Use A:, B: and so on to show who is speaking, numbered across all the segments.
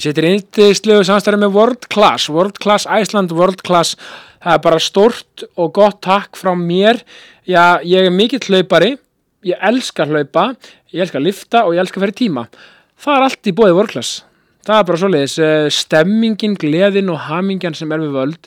A: Sittir yndislegu samstæri með World Class, World Class Iceland, World Class Það er bara stort og gott takk frá mér Já, ég er mikill hlaupari, ég elska að hlaupa, ég elska að lifta og ég elska að fyrir tíma Það er allt í bóði World Class Það er bara svoleiðis, eh, stemmingin, gleðin og hamingjan sem er við völd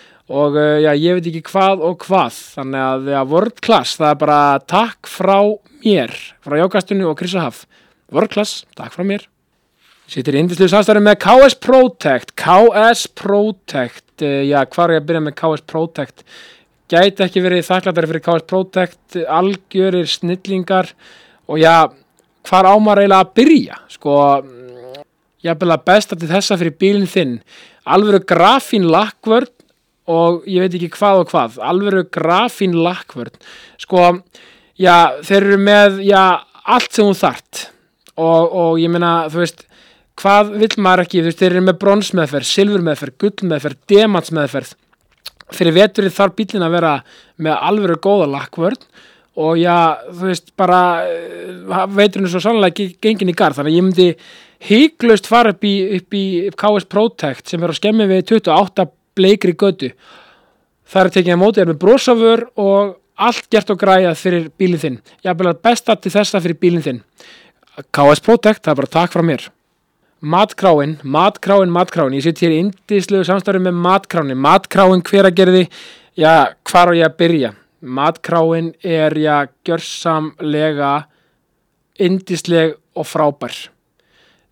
A: og uh, já, ég veit ekki hvað og hvað þannig að ja, World Class, það er bara takk frá mér frá Jókastunni og Krissa Haf World Class, takk frá mér Sýttir indislu samstæðum með KS Protect KS Protect uh, já, hvað er ég að byrja með KS Protect gæti ekki verið þakklættari fyrir KS Protect algjörir, snillingar og já, hvar ámar eiginlega að byrja sko, jafnvel besta til þessa fyrir bílinn þinn alvöru grafín lakkvörn og ég veit ekki hvað og hvað alvöru grafín lakkvörn sko, já, þeir eru með já, allt sem hún þart og, og ég meina, þú veist hvað vill maður ekki, þú veist, þeir eru með bronsmeðferð, silfurmeðferð, gullmeðferð demantsmeðferð fyrir veturinn þarf bílinn að vera með alvöru góða lakkvörn og já, þú veist, bara eh, veturinn er svo sannlega ge- gengin í garð þannig að ég myndi hygglust fara upp í, upp í upp KS Protect sem er á skemmi við 28 bleikri götu það er tekið á móti er með brosafur og allt gert og græjað fyrir bílinn þinn jafnvel að besta til þessa fyrir bílinn þinn KS Protect, það er bara takk frá mér Matkráin, matkráin, matkráin Ég sitt hér í indislegu samstarfi með matkráin Matkráin hver að gerði Já, hvar á ég að byrja Matkráin er, já, gjörsamlega Indisleg og frábær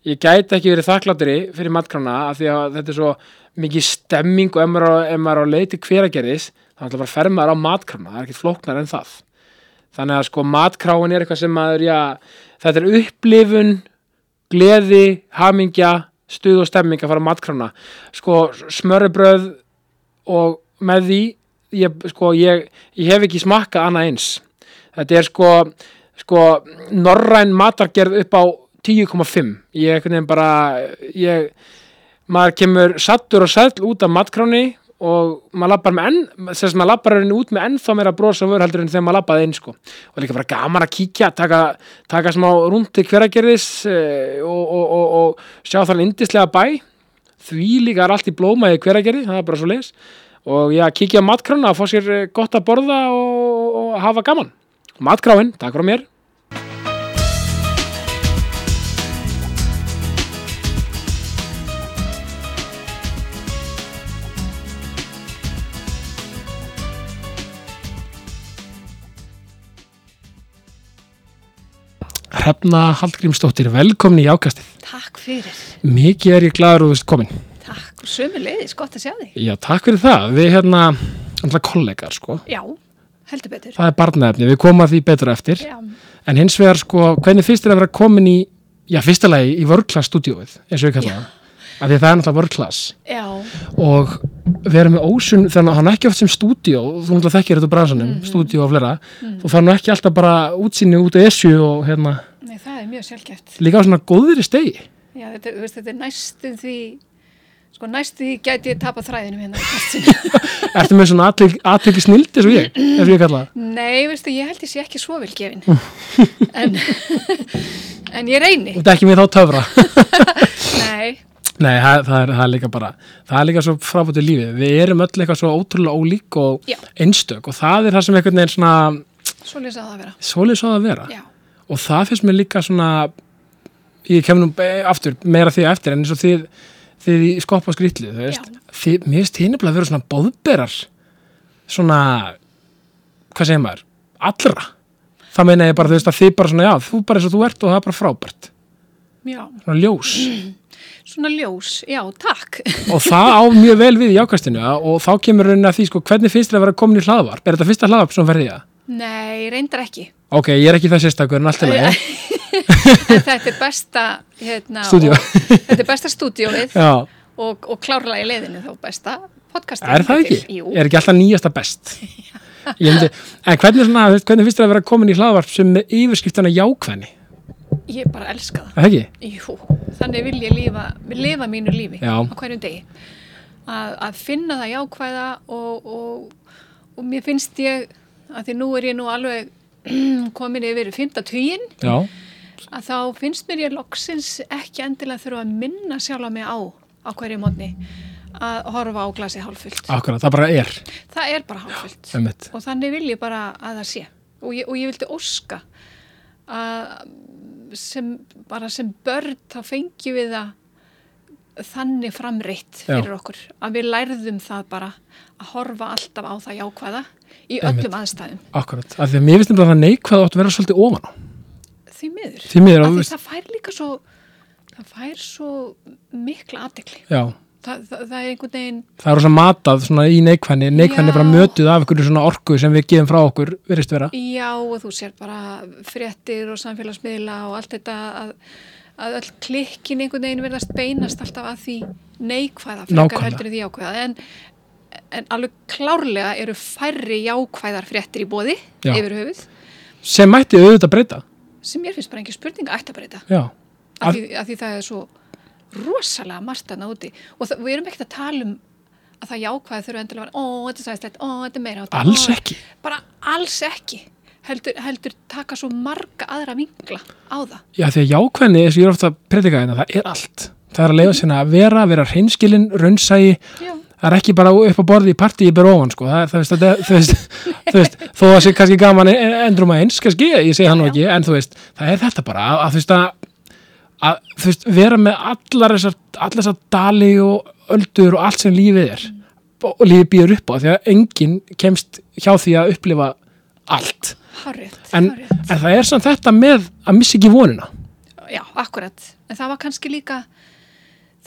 A: Ég gæti ekki verið þakklátri fyrir matkrána af því að þetta er svo mikið stemming og ef maður er á- ef maður er á leiti hver að gerðis þá ætla bara að fer maður á matkrána það er ekkert flóknar en það þannig að sko matkráin er eitthvað sem maður já, þetta er upplifun gleði, hamingja, stuð og stemming að fara á matkrána. Sko, smörrebröð og með því, ég, sko, ég, ég hef ekki smakkað annað eins. Þetta er sko, sko, norræn matargerð upp á 10,5. Ég einhvern veginn bara, ég, maður kemur sattur og sæll út af matkráni og maður lappar með enn, sem sem maður lappar henni út með ennþá meira brosa vör heldur en þegar maður lappaði inn sko. Og líka bara gaman að kíkja, taka, taka smá rúndi hveragerðis eh, og, og, og, og sjá þann indislega bæ. Því líka er allt í blóma í hveragerði, það er bara svo leis. Og já, kíkja á matkrána að fá sér eh, gott að borða og, og hafa gaman. Matkráin, takk frá mér. Hrefna Hallgrímsdóttir, velkomin í ákastið.
B: Takk fyrir.
A: Mikið er ég glaður og þú veist komin.
B: Takk. Svömi leiðis, gott að sjá þig.
A: Já, takk fyrir það. Við hérna, alltaf kollegar, sko.
B: Já, heldur betur.
A: Það er barnaefni, við komum að því betra eftir.
B: Já,
A: En hins vegar, sko, hvernig fyrst er að vera komin í, já, fyrsta lagi í vörklass stúdíóið, eins og ég kalla það. Af því að það er náttúrulega vörklass.
B: já,
A: Og við erum með ósun, þannig að hann er ekki oft sem stúdíó, þú náttúrulega þekkir þetta úr bransanum, stúdíó og fleira. Þú þarf nú ekki alltaf bara útsýni út á esju og hérna,
B: Nei, það er mjög sjálfgeft.
A: líka á svona góðri stegi.
B: Já, þetta, þú veist, þetta er næstu því, sko næstu því gæti ég tapa þræðinum hérna. í kastinum.
A: Ertu með svona aðtöki snildi svo ég, ef ég kalla það.
B: Nei, veistu, ég held ég sé ekki svo vel gefin. en, en ég reyni.
A: Þú ert ekki með þá töfra.
B: Nei,
A: Nei, það, það, er, það er líka bara, það er líka svo frábættu lífið. Við erum öll eitthvað svo ótrúlega ólík og
B: Já.
A: einstök og það er það sem einhvern veginn svona
B: svo lýsa það að vera.
A: svolítið svo að vera.
B: Já,
A: Og það finnst mér líka svona, ég kem nú be- aftur, meira því á eftir en eins og þið, þið í skopp og skrýtlu, þú veist,
B: Já.
A: þið, mér finnst þið nefnilega að vera svona bóðberar, svona, hvað segir maður, allra. Það meina ég bara, þú veist, að þið bara svona, já, þú bara eins og þú ert og það er bara frábært,
B: já,
A: svona ljós.
B: svona ljós, já, takk.
A: og það á mjög vel við í ákastinu og þá kemur raunin að því sko hvernig finnst þér að vera komin í hlaðvarp er þetta fyrsta hlaðvarp sem verði ég
B: Nei, reyndar ekki.
A: ok, ég er ekki það sérstakur en allt í lagi
B: En þetta er besta, hérna,
A: Stúdíó.
B: og- þetta er besta stúdíóið.
A: já,
B: og, og klárlega í leiðinu þá besta podcasti
A: Er það ekki?
B: Jú,
A: Er ekki alltaf nýjasta best? Ég Myndi, en hvernig, svona, þú veist, hvernig finnst þér að vera komin í hlaðvarp sem með yfirskiptana jákvæðni?
B: ég bara elska það
A: Er það ekki?
B: Jú, þannig vil ég lifa, lifa mínu lífi
A: Já.
B: á hverjum degi að, að finna það jákvæða og, og, og mér finnst ég að því nú er ég nú alveg komin yfir fymta tugin
A: Já,
B: að þá finnst mér ég loksins ekki endilega þurfa að minna sjálfa mig á á hverju mótni að horfa á glasi hálfullt.
A: akkurat, það bara er
B: Það er bara hálfullt
A: einmitt.
B: og þannig vil ég bara að það sé og ég, og ég vildi óska að sem, bara sem börn þá fengjum við það þannig framreitt
A: Já.
B: fyrir okkur að við lærðum það bara að horfa alltaf á það jákvæða í
A: Einmitt.
B: öllum aðstæðum
A: Akkurat, af því að mér finnst nefnilega að neikvæða átt að vera svolítið ofan á
B: því miður,
A: Því miður,
B: að
A: þú
B: því
A: veist-
B: það fær líka svo það fær svo mikla aðdekli
A: Já,
B: Þa, það, það er einhvern veginn,
A: það er rosa matað svona í neikvæðni Neikvæðni
B: Já.
A: er bara mötuð af einhverju svona orku sem við gefum frá okkur virðist vera
B: já og þú sér bara fréttir og samfélagsmiðla og allt þetta að, að öll klikkin einhvern veginn verðast beinast alltaf að því neikvæða
A: Nákvæmlega.
B: frekar heldur en því jákvæða en, en alveg klárlega eru færri jákvæðar fréttir í bóði
A: Já.
B: yfir höfuð
A: sem mætti auðvitað breyta
B: sem mér finnst bara engin spurning að ætta bara þetta
A: Já,
B: af
A: Að-
B: því, af því það er svo rosalega margt að úti og það, við erum ekkert að tala um að það jákvæða þurfa endilega að vera, ó, þetta er sæðislegt, ó, þetta er meira átta,
A: alls
B: ó,
A: ekki
B: bara alls ekki heldur, heldur taka svo marga aðra vingla á það
A: Já, því að jákvæðni, eins og ég er ofta að predika hérna, það er allt. Það er að leiða sérna að vera, vera hreinskilin, raunsæi,
B: Já.
A: það er ekki bara upp á borði í partí í beróan, sko. Það, er- það, veist, það, þú veist, þú veist, þó að sé kannski gaman endrum að eins, kannski, ég segi það nú
B: Já,
A: ekki, en þú veist, það er þetta bara að, að þú veist, að, að, þú veist, vera með allar þessar, allar þessar dali og öldur og allt sem lífið er og lífið býður upp á, því að enginn kemst hjá því að upplifa allt.
B: Hárið,
A: En,
B: hárið.
A: en það er samt þetta með að missa ekki vonina.
B: Já, akkurat. En það var kannski líka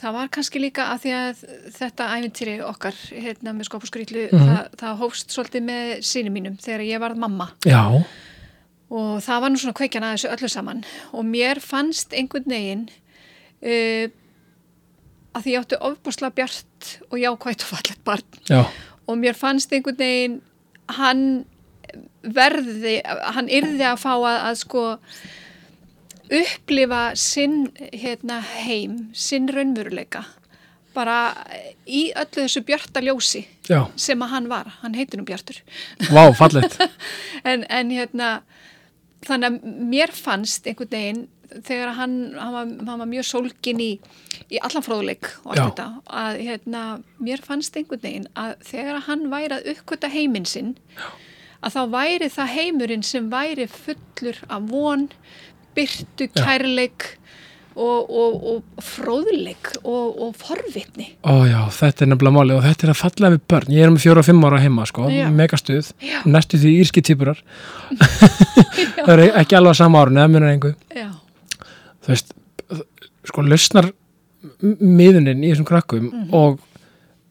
B: það var kannski líka að því að þetta æfintýri okkar hérna með skop og skrýtlu, það, það hófst svolítið með sinni mínum þegar ég varð mamma
A: Já,
B: og það var nú svona kveikjan að þessu öllu saman og mér fannst einhvern veginn uh, að því ég átti ofbúsla bjart og jákvætt og fallegt barn
A: já.
B: og mér fannst einhvern veginn hann verði, hann yrði að fá að, að sko upplifa sinn hérna, heim, sinn raunveruleika bara í öllu þessu bjarta ljósi
A: Já,
B: sem að hann var, hann heitir nú bjartur
A: vá, fallegt
B: en, en hérna þannig að mér fannst einhvern veginn þegar hann, hann, var, hann var mjög sólgin í, í allan fróðleik og allt
A: Já.
B: þetta að hérna, mér fannst einhvern veginn að þegar hann væri að uppkvita heiminn sinn að þá væri það heimurinn sem væri fullur af von, byrtu,
A: Já.
B: kærleik og, og, og fróðleik og, og forvitni
A: Ó já, þetta er nefnilega málið og þetta er að falla við börn Ég er um fjóra og fimm ára heima, sko,
B: Já.
A: megastuð
B: Já.
A: Næstu því írski týpurar Það er ekki alveg á sama árun eða munar engu
B: Já,
A: Þú veist, sko, lausnar m- miðunin í þessum krakkum og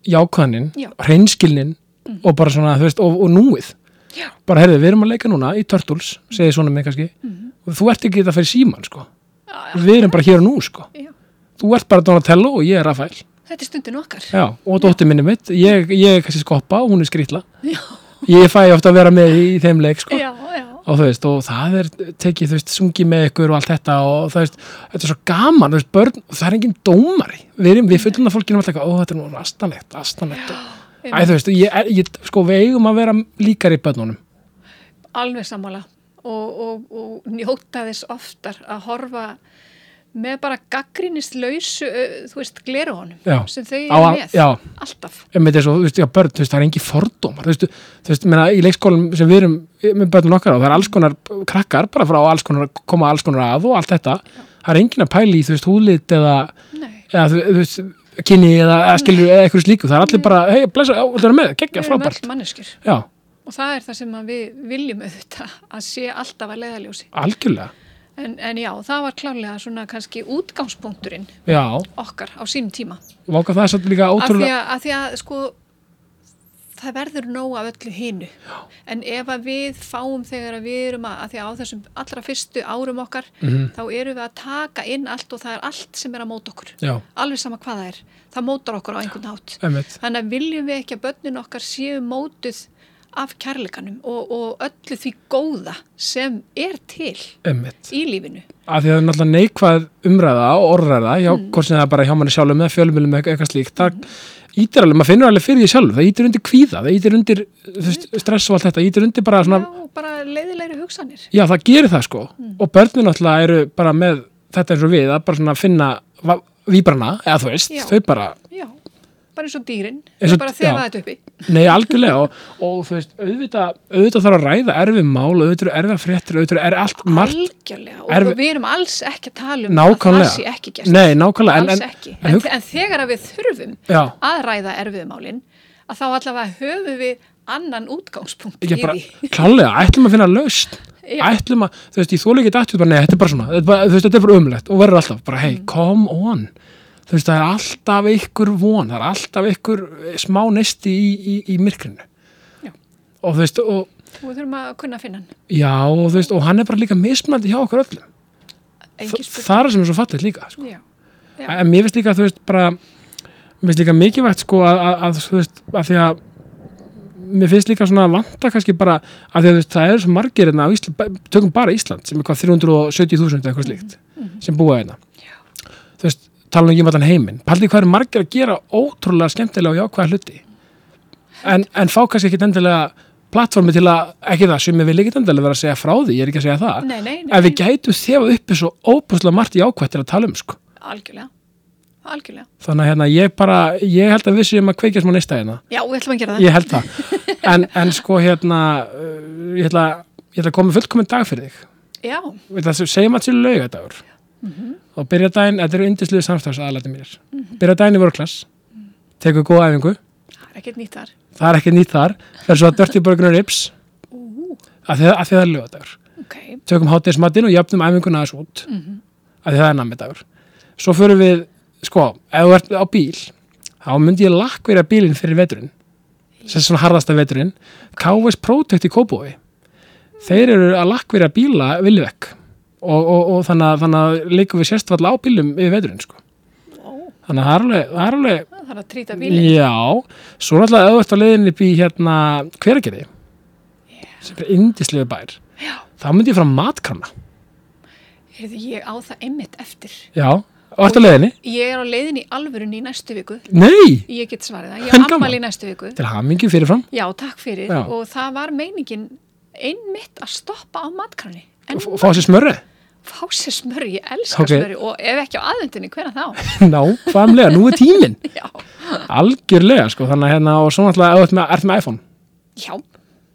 A: jákvæðnin,
B: Mhm. Já. Mhm.
A: hreinskilnin og bara svona, þú veist, og, og núið
B: Já.
A: Bara heyrðu, við erum að leika núna í Turtles, segið svona mig kannski
B: Mhm.
A: og þú ert ekki að fara í síman, sko Við erum bara hér og nú, sko
B: já.
A: Þú ert bara Donatello og ég er Rafael
B: þetta er stundin okkar
A: Já, og dóttir minni mitt, ég, ég er kannski skoppa og hún er skrýtla.
B: Já.
A: Ég fæ ofta að vera með í þeim leik, sko.
B: já, já.
A: Og þú veist, og það er tekið, þú veist, sungið með ykkur og allt þetta og þú veist, þetta er svo gaman, þú veist, börn, það er enginn dómari. Við erum, við fullum að fólkinu alltaf eitthvað, ó, þetta er nú astanlegt, astanlegt. og- Æ, þú veist, ég, er- ég, sko, við eigum að vera líkari í börnunum.
B: Alveg sammála og, og, og njóta þess oftar að horfa með bara gaggrinnislausu, ö, þú veist, gleru
A: Já.
B: honum sem
A: Á
B: þau eru
A: að-
B: með,
A: já.
B: alltaf.
A: Ég meiti svo, þú veist, já, börn, þú veist, það er engin fordómar, þú veist, þú veist, meina, í leikskólum sem við erum eh, með börnun okkar á, það er alls konar krakkar, bara frá alls konar, koma alls konar að og allt þetta, það er engin að pæli í, þú veist, húlit eða,
B: Nei,
A: eða þú, þú veist, kynni eða, eða skilur eða eitthvað slíku, það er allir bara, hei, blessa, já, viltu vera með, geggja,
B: Mm. við erum
A: frábært.
B: öll manneskjur
A: Já,
B: og það er það sem að við viljum auðvitað að sé alltaf að leiðaljósi.
A: algjörlega,
B: En, en já, það var klárlega svona kannski útgangspunkturinn
A: já,
B: okkar á sínum tíma.
A: váka það er svolítið líka
B: Af því
A: ótrúlega,
B: að, af því að sko, það verður nóg af öllu hinu en ef að við fáum þegar að við erum að, að því að á þessum allra fyrstu árum okkar
A: Mhm.
B: þá erum við að taka inn allt og það er allt sem er að móta okkur
A: já,
B: alveg sama hvað það er, það mótar okkur á einhvern hátt
A: einmitt
B: þannig að viljum við ekki að börnin okkar séu mótuð af kærleikanum og, og öllu því góða sem er til
A: einmitt,
B: í lífinu
A: af því að það er náttúrulega neikvað umræða og orðræða, já,
B: Mm.
A: hvort sem það er bara hjá manni sjálfum eða fjölmjölum eða eitthvað slíkt það
B: Mm.
A: ítir alveg, maður finnur alveg fyrir því sjálf það ítir undir kvíða, það ítir undir þú veist,
B: Mm.
A: stress og allt þetta, ítir undir bara svona
B: já, bara leiðilegri hugsanir
A: Já, það gerir það sko
B: Mm.
A: og börnin náttúrulega eru bara með þetta eins og við að bara svona finna va- víbrana, eða þú veist,
B: Já.
A: þau bara
B: já, bara eins og dýrin
A: Eins og-
B: bara þefa
A: já.
B: þetta uppi
A: nei, algjörlega og, og þú veist, auðvitað, auðvitað þarf að ræða erfið mál, auðvitað eru erfið fréttir auðvitað er allt margt,
B: algjörlega og
A: Erfi-
B: við erum alls ekki að tala um að
A: Nákvæmlega.
B: það sé ekki gert
A: nei, nákvæmlega en,
B: alls
A: en,
B: ekki,
A: en,
B: en,
A: hug-
B: en þegar að við þurfum
A: já,
B: að ræða erfiðumálin að þá allavega höfum við annan útgangspunkt
A: ekki
B: í því
A: bara klálega, ætlum að finna löst
B: Já.
A: ætlum að, þú veist, ég þóla ekki dættu bara, nei, þetta er bara svona, þetta er bara, þú veist, þetta er bara umlegt og verður alltaf, bara,
B: Mm.
A: hey, come on þú veist, það er alltaf ykkur von það er alltaf ykkur eh, smá nesti í, í, í myrkrinu
B: Já.
A: og þú veist, og
B: og við þurfum að kunna að finna hann
A: Já, og þú veist, og hann er bara líka mismunandi hjá okkur öllum.
B: Engin
A: Þa-
B: spurning.
A: Það er sem er svo fallið líka. Sko.
B: Já, Já.
A: En mér finnst líka, þú veist, bara, mér finnst líka mikilvægt, sko, að, að- að þú veist, að því að, mér finnst líka svona að vanta kannski bara, að því að þú veist, það eru svo margir hérna á Ísland, ba- tökum bara Ísland, sem er hvað 370.000 eða eitthvað
B: Mhm.
A: slíkt, sem búa hérna. Þú veist, tala nú ekki um allan heiminn. Paldið hvað eru margir að gera ótrúlega skemmtilega og jákvæða hluti. En, en fá kannski ekkit endilega plattformi til að, ekki það, sem vil ekkit endilega vera að segja frá því, ég er ekki að segja það
B: nei, nei,
A: ef
B: nei,
A: við gætum þefað uppi svo óbúslega margt jákvætt er að tala um sko.
B: algjörlega algjörlega,
A: þannig að hérna, ég bara, ég held að við séum að kveikja smá neista hérna,
B: já, við ætlum að gera það
A: ég held það en, en sko hérna uh, ég ætla, ég ætla að koma fullkominn dag fyrir þig
B: já,
A: Við ætla að segjum að til laugadagur og byrja daginn, þetta eru yndisluðu samstafs aðalæti mínir, byrja daginn í vörklass tekur góða æfingu,
B: það er ekkert nýtt þar
A: það er ekki nýtt þar fyrir svo að dörti börgunar rips
B: Ú,
A: af því að af því að það er laugadagur
B: ok,
A: tökum hátæðismatinn og jafnum æfinguna aðeins út mm
B: Mhm.
A: af því það er nammidagur svo förum við, sko, ef þú ert á bíl þá myndi ég lakkverja bílinn fyrir veturinn sem er svona harðasta veturinn KVS Protect í Kóbói þeir eru að lakkverja bíla viljvekk og, og, og þannig, að, þannig að líka við sérstfalla á bílum yfir veturinn sko.
B: Ó,
A: þannig að það er alveg, það er alveg
B: það er að trýta bílinn
A: Já, svo náttúrulega ef þú ert á leiðinni upp í hérna hveragerði sem er indislegu bær
B: Já.
A: þá myndi ég fara matkrana
B: Heyrðu, ég á það einmitt eftir
A: Já, og ert á leiðinni?
B: ég er á leiðin í alvörunni í næstu viku
A: Nei,
B: ég get svarið það, ég
A: En
B: er
A: gaman.
B: ammali í næstu viku
A: til hamingju fyrirfram
B: já, takk fyrir,
A: Já.
B: og það var meiningin einmitt að stoppa á matkrani en
A: og fá sér smörri
B: fá sér smörri, ég elska
A: Ok.
B: smörri og ef ekki á aðvendinni, hvena þá?
A: Nákvæmlega, nú er tíminn
B: já,
A: Algjörlega, sko, þannig að hérna og svo náttúrulega ef þú ert með, ert með iPhone
B: já,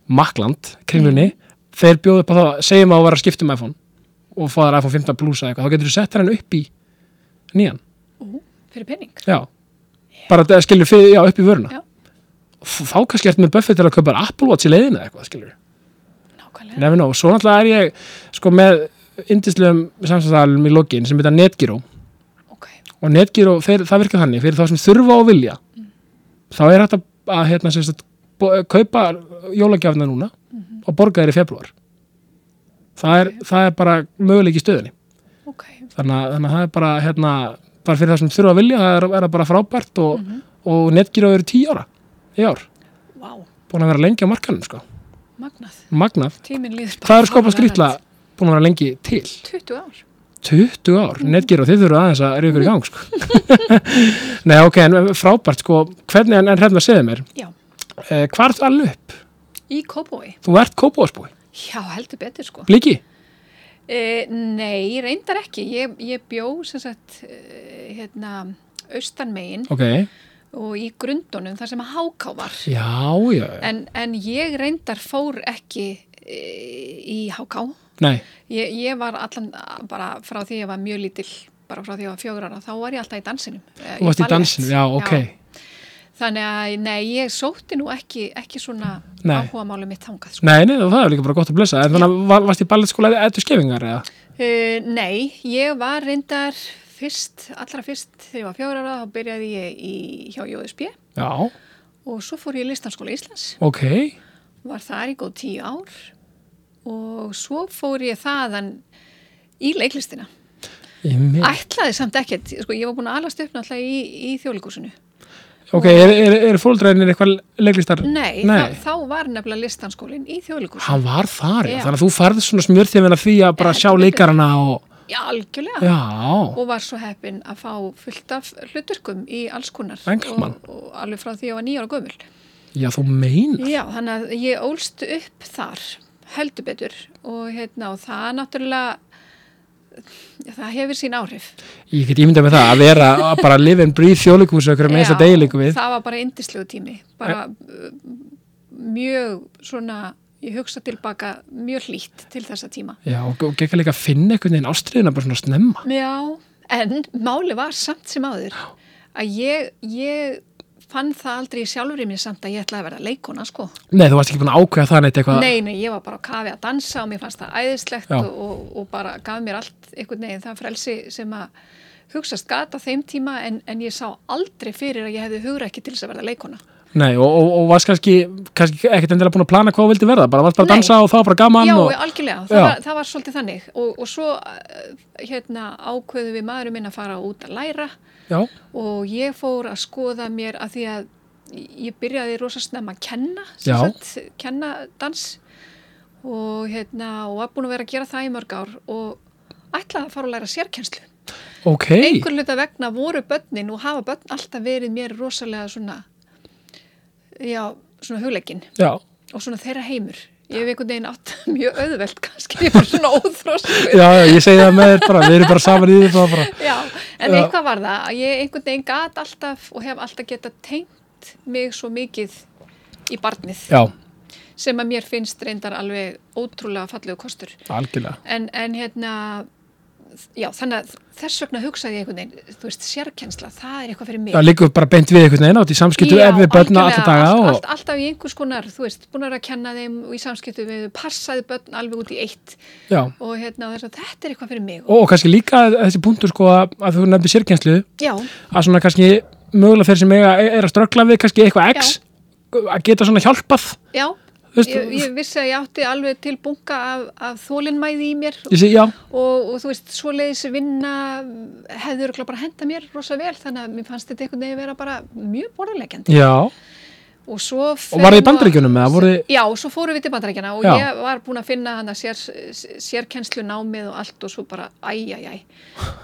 A: Makland, kringlunni
B: Mm.
A: þeir bjóðu upp á það, segjum að þú var að skipta um iPhone og fá þar iPhone 15 Plus eða eitthvað þá getur þú sett hann upp í nýjan
B: fyrir penning
A: Já, bara skilur fyrir, já, upp í vöruna
B: Já.
A: F- Þá kannski ertu með Buffett til að kaupa Apple Watch í leiðinu eða eitthvað, skilur
B: nákvæmlega,
A: Nefnir nóg, svo náttúrulega er ég sko með yndislegum samstæðalum í lokin sem heita Netgyro
B: ok
A: og Netgyro, þeir, það virkar þannig fyrir þá sem þurfa og vilja þá er hægt að, að hérna, sem sagt, bo- kaupa jólagjafna núna og borga þeir í februar það er, það er bara möguleik í stöðunni
B: Ok,
A: þannig að, þannig að það er bara, hérna, bara fyrir það sem þurfa að vilja það er, er það bara frábært og, og Netgyro eru tíu ára í ár,
B: vá,
A: búin að vera lengi á markanum sko,
B: magnað,
A: magnað
B: tíminn líður bara
A: hvað er skopað
B: hraðar en
A: skrýtla búin að vera lengi til
B: 20 ár,
A: 20 ár, netgir og þið þurfa aðeins að eru ykkur í gang sko. Nei, ok, en frábært sko, hvernig en, en hrefna segði mér,
B: já,
A: eh, hvað ert alveg upp?
B: í Kóbói,
A: Þú ert kópóðsbúi,
B: já heldur betur sko.
A: bliki?
B: E, nei, reyndar ekki, ég, ég bjó sem sagt, e, hérna, austan megin
A: Ok,
B: og í grundunum þar sem að háká var.
A: já, já, já.
B: En, en ég reyndar fór ekki e, í háká.
A: nei,
B: Ég, ég var allan bara frá því ég var mjög lítill, bara frá því ég var fjögur ára, þá var ég alltaf í dansinum. eh, í
A: þú varst í
B: ballett.
A: dansinu, já, ok,
B: Þannig að, nei, ég sótti nú ekki, ekki svona
A: Nei.
B: áhuga máli mitt þangað, sko.
A: Nei, nei, og það er líka bara gott að blessa, en þannig að var, varst í balletskóla eða ettu skefingar eða?
B: Uh, nei, ég var reyndar fyrst, allra fyrst þegar ég var fjóra ára, þá byrjaði ég í, hjá JSB
A: Já,
B: og svo fór ég í listanskóla Íslands
A: ok,
B: var þar í góð tíu ár og svo fór ég þaðan í leiklistina
A: ég með
B: ætlaði samt ekkert, sko, ég var búin að alast upp náttúrulega í, í þjóðleikúsinu
A: Ok, er, er, er fóldræðinir eitthvað leiklistar?
B: nei,
A: Nei.
B: Þá, þá var nefnilega listanskólin í þjóðleikúsinu
A: Hann var þar, já.
B: Já.
A: Þannig að þú farð svona smjörþjöfin að því að bara sjá leikarana og...
B: já, algjörlega
A: Já,
B: og var svo heppin að fá fullt af hlutverkum í alls konar
A: Engelsmann.
B: og, og alveg frá því ég var nýjára gömul
A: já, þú meina.
B: já, þannig að ég ólst upp þar heldur betur og, hérna, og það náttúrulega já, það hefur sín áhrif
A: Ég get ímyndað með það að vera að bara live and breathe þjóðleikúsu okkur með þess að deilíku við.
B: það var bara indislegu tími bara uh, mjög svona ég hugsa tilbaka mjög hlýtt til þessa tíma
A: Já, og, og gekk að líka að finna einhvern veginn ástriðina bara svona snemma.
B: Já, en máli var samt sem áður að ég, ég fann það aldrei í sjálfur í mér samt að ég ætlaði að verða leikona sko.
A: Nei, þú varst ekki búin að ákveða það neitt eitthvað.
B: Nei, nei, ég var bara á kafi að dansa og mér fannst það æðislegt
A: Já.
B: og, og, og bara gaf mér allt einhvern veginn það frelsi sem að hugsast gata þeim tíma en, en ég sá aldrei fyrir að ég hefði hugra ekki til þess að verða leikona.
A: Nei, og, og, og varst kannski, kannski ekkert endilega búin að plana hvað þú vildi verða. Bara varst bara að
B: Nei.
A: dansa og það var bara gaman
B: Já,
A: og...
B: algjörlega, það
A: Já.
B: var, það var svolítið þannig og, og svo eh, hérna ákveðu við maðurum minn að fara út að læra
A: Já,
B: og ég fór að skoða mér að því að ég byrjaði rosa snemma að kenna sem
A: Já.
B: sagt, kenna dans og hérna og var búin að vera að gera það í mörg ár og ætlaði að fara að læra sérkennslu
A: ok.
B: einhver hluta vegna voru börnin og hafa börn alltaf verið mér rosalega svona já, svona hugleikin
A: Já,
B: og svona þeirra heimur ég hef einhvern veginn átt það mjög auðvelt kannski, ég var svona óþróskuð
A: já, já, ég segi það með þér bara, við erum bara saman í því það bara.
B: Já, en
A: Já.
B: eitthvað var það að ég einhvern veginn gat alltaf og hef alltaf geta tengt mig svo mikið í barnið
A: Já,
B: sem að mér finnst reyndar alveg ótrúlega fallegu kostur
A: algjörlega.
B: en, en hérna já, þannig að þess vegna hugsaði ég einhvern veginn, þú veist, sérkensla það er eitthvað fyrir mig
A: Já, líka bara beint við einhvern veginn átt í samskiptum ef við börna
B: algjörlega,
A: alltaf daga
B: allt,
A: og
B: allt, alltaf í einhvers konar, þú veist, búin að vera að kenna þeim og í samskiptum við, passaði börn alveg út í eitt
A: já.
B: og hérna, þess að þetta er eitthvað fyrir mig
A: Og, og kannski líka þessi punktur sko að að þú nefnir sérkjenslu
B: já,
A: að svona kannski mögulega þeir sem eiga er að ströggla við kannski eitthvað x að geta svona hjálpað
B: já
A: þú veist,
B: Ég, ég vissi að ég átti alveg til bunga af, af þólinmæði í mér
A: ég segi já,
B: og, og þú veist, svoleiðis vinna hefði örugglega bara henda mér rosa vel þannig að mér fannst þetta einhvern veginn vera bara mjög borðarlegjandi
A: já
B: og svo
A: og var þið í bandaríkjunum eða voru
B: Já, og svo fórum við til bandarækjana og
A: Já.
B: ég var búin að finna hana sér, sérkennslu námið og allt og svo bara, æjæjæ,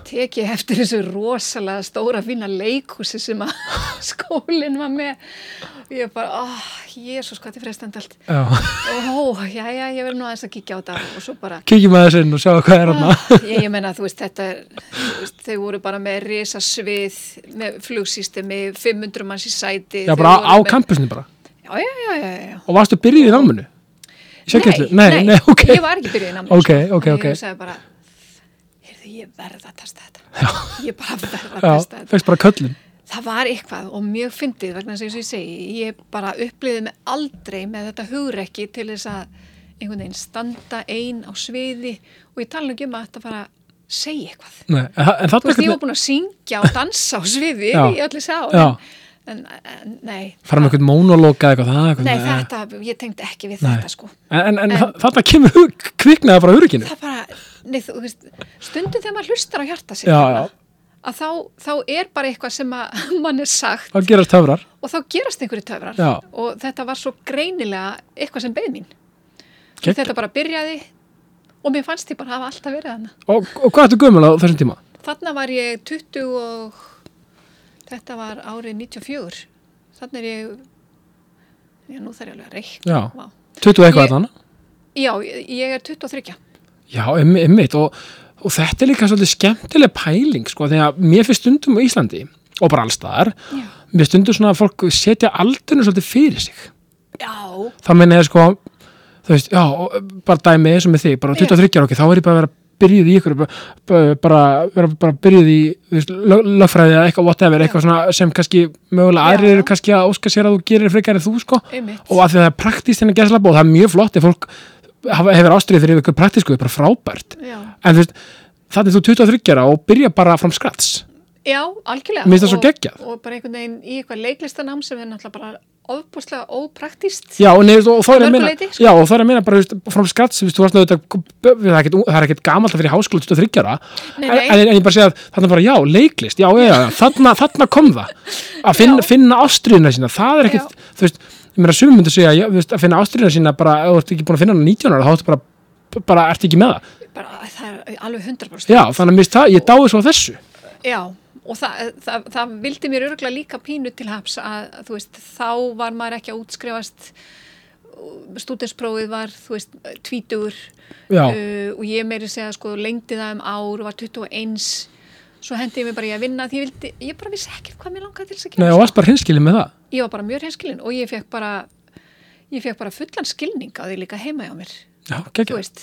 B: tek ég eftir þessu rosalega stóra fína leikhúsi sem að skólinn var með og ég bara, áh, jésus, hvað þetta er frestand allt
A: já,
B: Ó, já, já, ég verði nú aðeins að kíkja á þetta og svo bara "Ah,
A: kíkjum að þessu inn og sjá hvað er hann
B: ég, ég menna, þú veist, þetta er, þú veist, þau voru bara með risasvið, með flugsýstemi, 500 manns í sæti.
A: já,
B: þau
A: bara á, á
B: voru með-
A: kampusinu bara
B: Já, já, já, já, já.
A: og varstu byrjuð í náminu sérkjenslu, nei, nei, ok
B: Ég var ekki byrjuð í námið.
A: Ok, ok, ok.
B: Ég sagði bara, heyrðu, ég verð að testa þetta.
A: Já.
B: Ég bara verð að
A: já,
B: testa þetta.
A: fegst bara köllin
B: Það var eitthvað og mjög fyndið vegna þess að ég segi, ég bara upplýði mig aldrei með þetta hugrekki til þess að einhvern veginn standa ein á sviði og ég tala nú ekki um að þetta fara að segja eitthvað.
A: nei, en, þa- en
B: Þú
A: þarna
B: veist, ég var
A: einhvern
B: búin að syngja og dansa á sviði
A: Já.
B: í öllu sá.
A: Já.
B: En, en nei,
A: fara með einhvern mónolóka eða eitthvað það er
B: nei,
A: einhvern-
B: þetta, ég tengdi ekki við
A: Nei.
B: þetta sko.
A: En, en, en, þa- þarna kemur hug, kviknaði bara hurikinu.
B: Það bara, nei, þú veist, stundum þegar maður hlustar á hjarta sér,
A: Já, já,
B: að þá, þá er bara eitthvað sem að mann er sagt
A: það gerast töfrar.
B: og þá gerast einhverju töfrar
A: Já.
B: og þetta var svo greinilega eitthvað sem beð mín
A: Gegn.
B: þetta bara byrjaði og mér fannst ég bara hafa alltaf verið hana
A: Og, og hvað ertu gömul á þessum tíma?
B: þarna var ég 20 og þetta var árið 94 þarna er ég já nú þarf ég alveg að reikna
A: Já,
B: Vá.
A: 20 eitthvað
B: Ég-
A: þannig.
B: já, ég ég er 23
A: Já, em- emmitt og, og þetta er líka svolítið skemmtileg pæling sko, því að mér finnst stundum á Íslandi og bara allstaðar,
B: Já.
A: mér finnst stundum svona að fólk setja aldurinn svolítið fyrir sig.
B: já,
A: Það meina ég sko, þú veist, já, og, eh, bara dæmi eins og með þig, bara 23 ára, ok, þá er ég bara að vera byrjuð í ykkur, bara, bara- bara, vera bara byrjuð í þú veist, lög, lögfræði eða eitthvað whatever, eitthvað svona sem kannski mögulega
B: Já,
A: aðrir eru
B: já.
A: kannski að óska sér að þú gerir frekar en þú sko
B: einmitt
A: og að því að það er praktíst henni gæðslapa og það er mjög flott ef fólk hafa- hefur ástriðið fyrir ykkur praktísku, það er bara frábært
B: já,
A: en þú veist, þannig þú 23 ára og byrja bara from scratch
B: já algjörlega
A: Mér finnst það svo
B: Og-
A: geggjað.
B: og bara einhvern veginn í eitthvað leiklistanám sem er náttúrulega bara ofbúslega ópraktist
A: Já, og, nei, og, og þá er ég að meina
B: Mörguleiti, sko.
A: Já, og þá er ég að meina bara, þú veist, frá skats þú veist, þú varst auðvitað, það er ekkit, það er ekkit gamalt að fyrir háskóla 23 ára
B: Nei,
A: en,
B: nei.
A: en en ég bara segja að þarna bara, já, leiklist já, já, já, þarna, þarna kom það að finna,
B: Já.
A: finna ástriðina sína, það er ekkit þú veist, ég meina, sumum myndu segja já, þú veist, að finna ástriðina sína, bara, ef þú ert ekki búin að finna hana 19 ára, þá ertu bara, bara ert ekki með það,
B: bara, það er alveg 100%
A: já, þannig að mér finnst það, ég dái svo að þessu,
B: Já, og það, það, það vildi mér örgulega líka pínu til haps að að, þú veist, þá var maður ekki að útskrifast stúdensprófið var, þú veist, tvítugur
A: já,
B: uh, og ég meiri segja sko lengdi það um ár og var 21 svo hendi ég mig bara í að vinna því ég, vildi, ég bara vissi ekkert hvað mér langaði til þess að
A: nei,
B: gera
A: og varst bara hinskilið með það
B: ég var bara mjög hinskilin og ég fekk bara ég fekk bara fullan skilning á því líka heima hjá mér
A: já,
B: þú
A: gekkja,
B: veist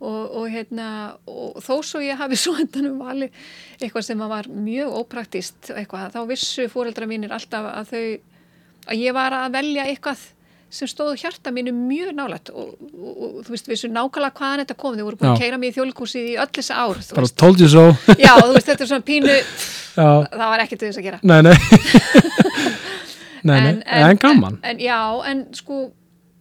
B: og, og hérna og þó svo ég hafi svo endanum valið eitthvað sem að var mjög ópraktist eitthvað, þá vissu fóreldra mínir alltaf að þau að ég var að velja eitthvað sem stóðu hjarta mínu mjög nálægt og, og, og þú veist, vissu nákvæmlega hvaðan þetta kom þau voru búin
A: Já.
B: að keira mig í þjólikúsið í öll þessi ár þú
A: bara
B: veist.
A: told you so
B: já, þú veist, þetta er svona pínu
A: já,
B: það var ekki til þess að gera
A: nei, nei nei, nei, en gaman
B: En, já, en sko,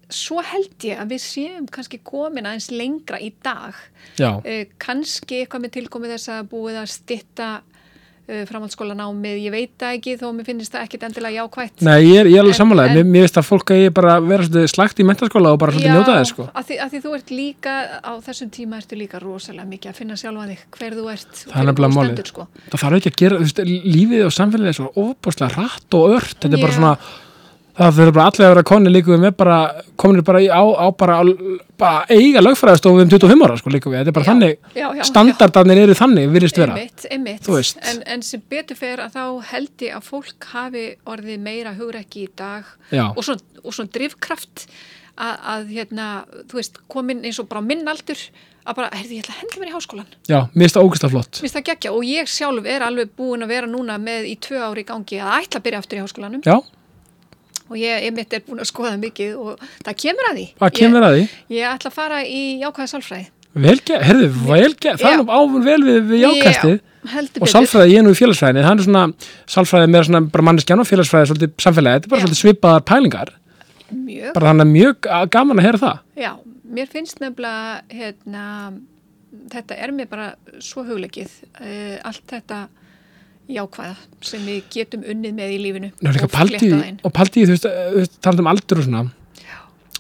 B: svo held ég að við séum kannski komin aðeins lengra í dag.
A: já,
B: Uh, kannski eitthvað með tilkomið þess að búið að stitta uh, framhaldsskólanámið, ég veit það ekki þó að mér finnst það ekkit endilega jákvætt.
A: Nei, ég er, ég er alveg
B: En-
A: samanlega,
B: en-
A: mér, mér veist að fólk að ég bara að vera svolítið slagt í mentaskóla og bara svolítið njóta þess sko.
B: að því, að því þú ert líka, á þessum tíma ertu líka rosalega mikið að finna sjálfa þig hver þú ert. og
A: Það er nefnilega
B: hvernig þú
A: málið.
B: stendur, Sko.
A: Það þarf ekki að gera, þú veist, lífið og samfélagið er svona ofbáslega rætt og ört, þetta er bara
B: Já.
A: svona, það þurfa bara allir að vera konni líka við með bara, kominir bara í, á, á bara, á, bara eiga lögfræðastofu um 25 ára sko líka við, þetta er bara þannig,
B: Já, já, já.
A: standardarnir eru þannig, virðist vera.
B: Einmitt, einmitt.
A: Þú veist.
B: En, en sem betur fer að þá held ég að fólk hafi orðið meira hugrekki í dag
A: Já.
B: og svona, og svona drifkraft að, að hérna, þú veist, komin eins og bara á minn aldur að bara, heyrðu, ég ætla að henda mér í háskólan.
A: Já, mér finnst það ógæslega flott.
B: Mér finnst það geggja og ég sjálf er alveg búin að vera núna með í tvö ári í gangi að ætla að byrja aftur í háskólanum
A: Já,
B: og ég einmitt er búin að skoða mikið og það kemur að því.
A: það kemur að því.
B: Ég, ég ætla að fara í jákvæða sálfræði.
A: Velge, herðu, velge, það er nú ávun vel við, við jákastið.
B: Já,
A: og
B: heldur betur.
A: sálfræði ég er nú í félagsfræðinni það er svona sálfræði með svona bara manneskjan og félagsfræði svolítið samfélagi, þetta er bara
B: Já.
A: svolítið svipaðar pælingar
B: Mjög.
A: bara þannig að mjög að- gaman að heyra það
B: Já, mér finnst nefnilega hérna, þetta er mér bara svo hugleikið uh, allt þetta jákvæða sem við getum unnið með í lífinu
A: Nú er líka paldi,
B: fléttað inn.
A: og paldi, þú veist, eh, þú veist talað um aldur og svona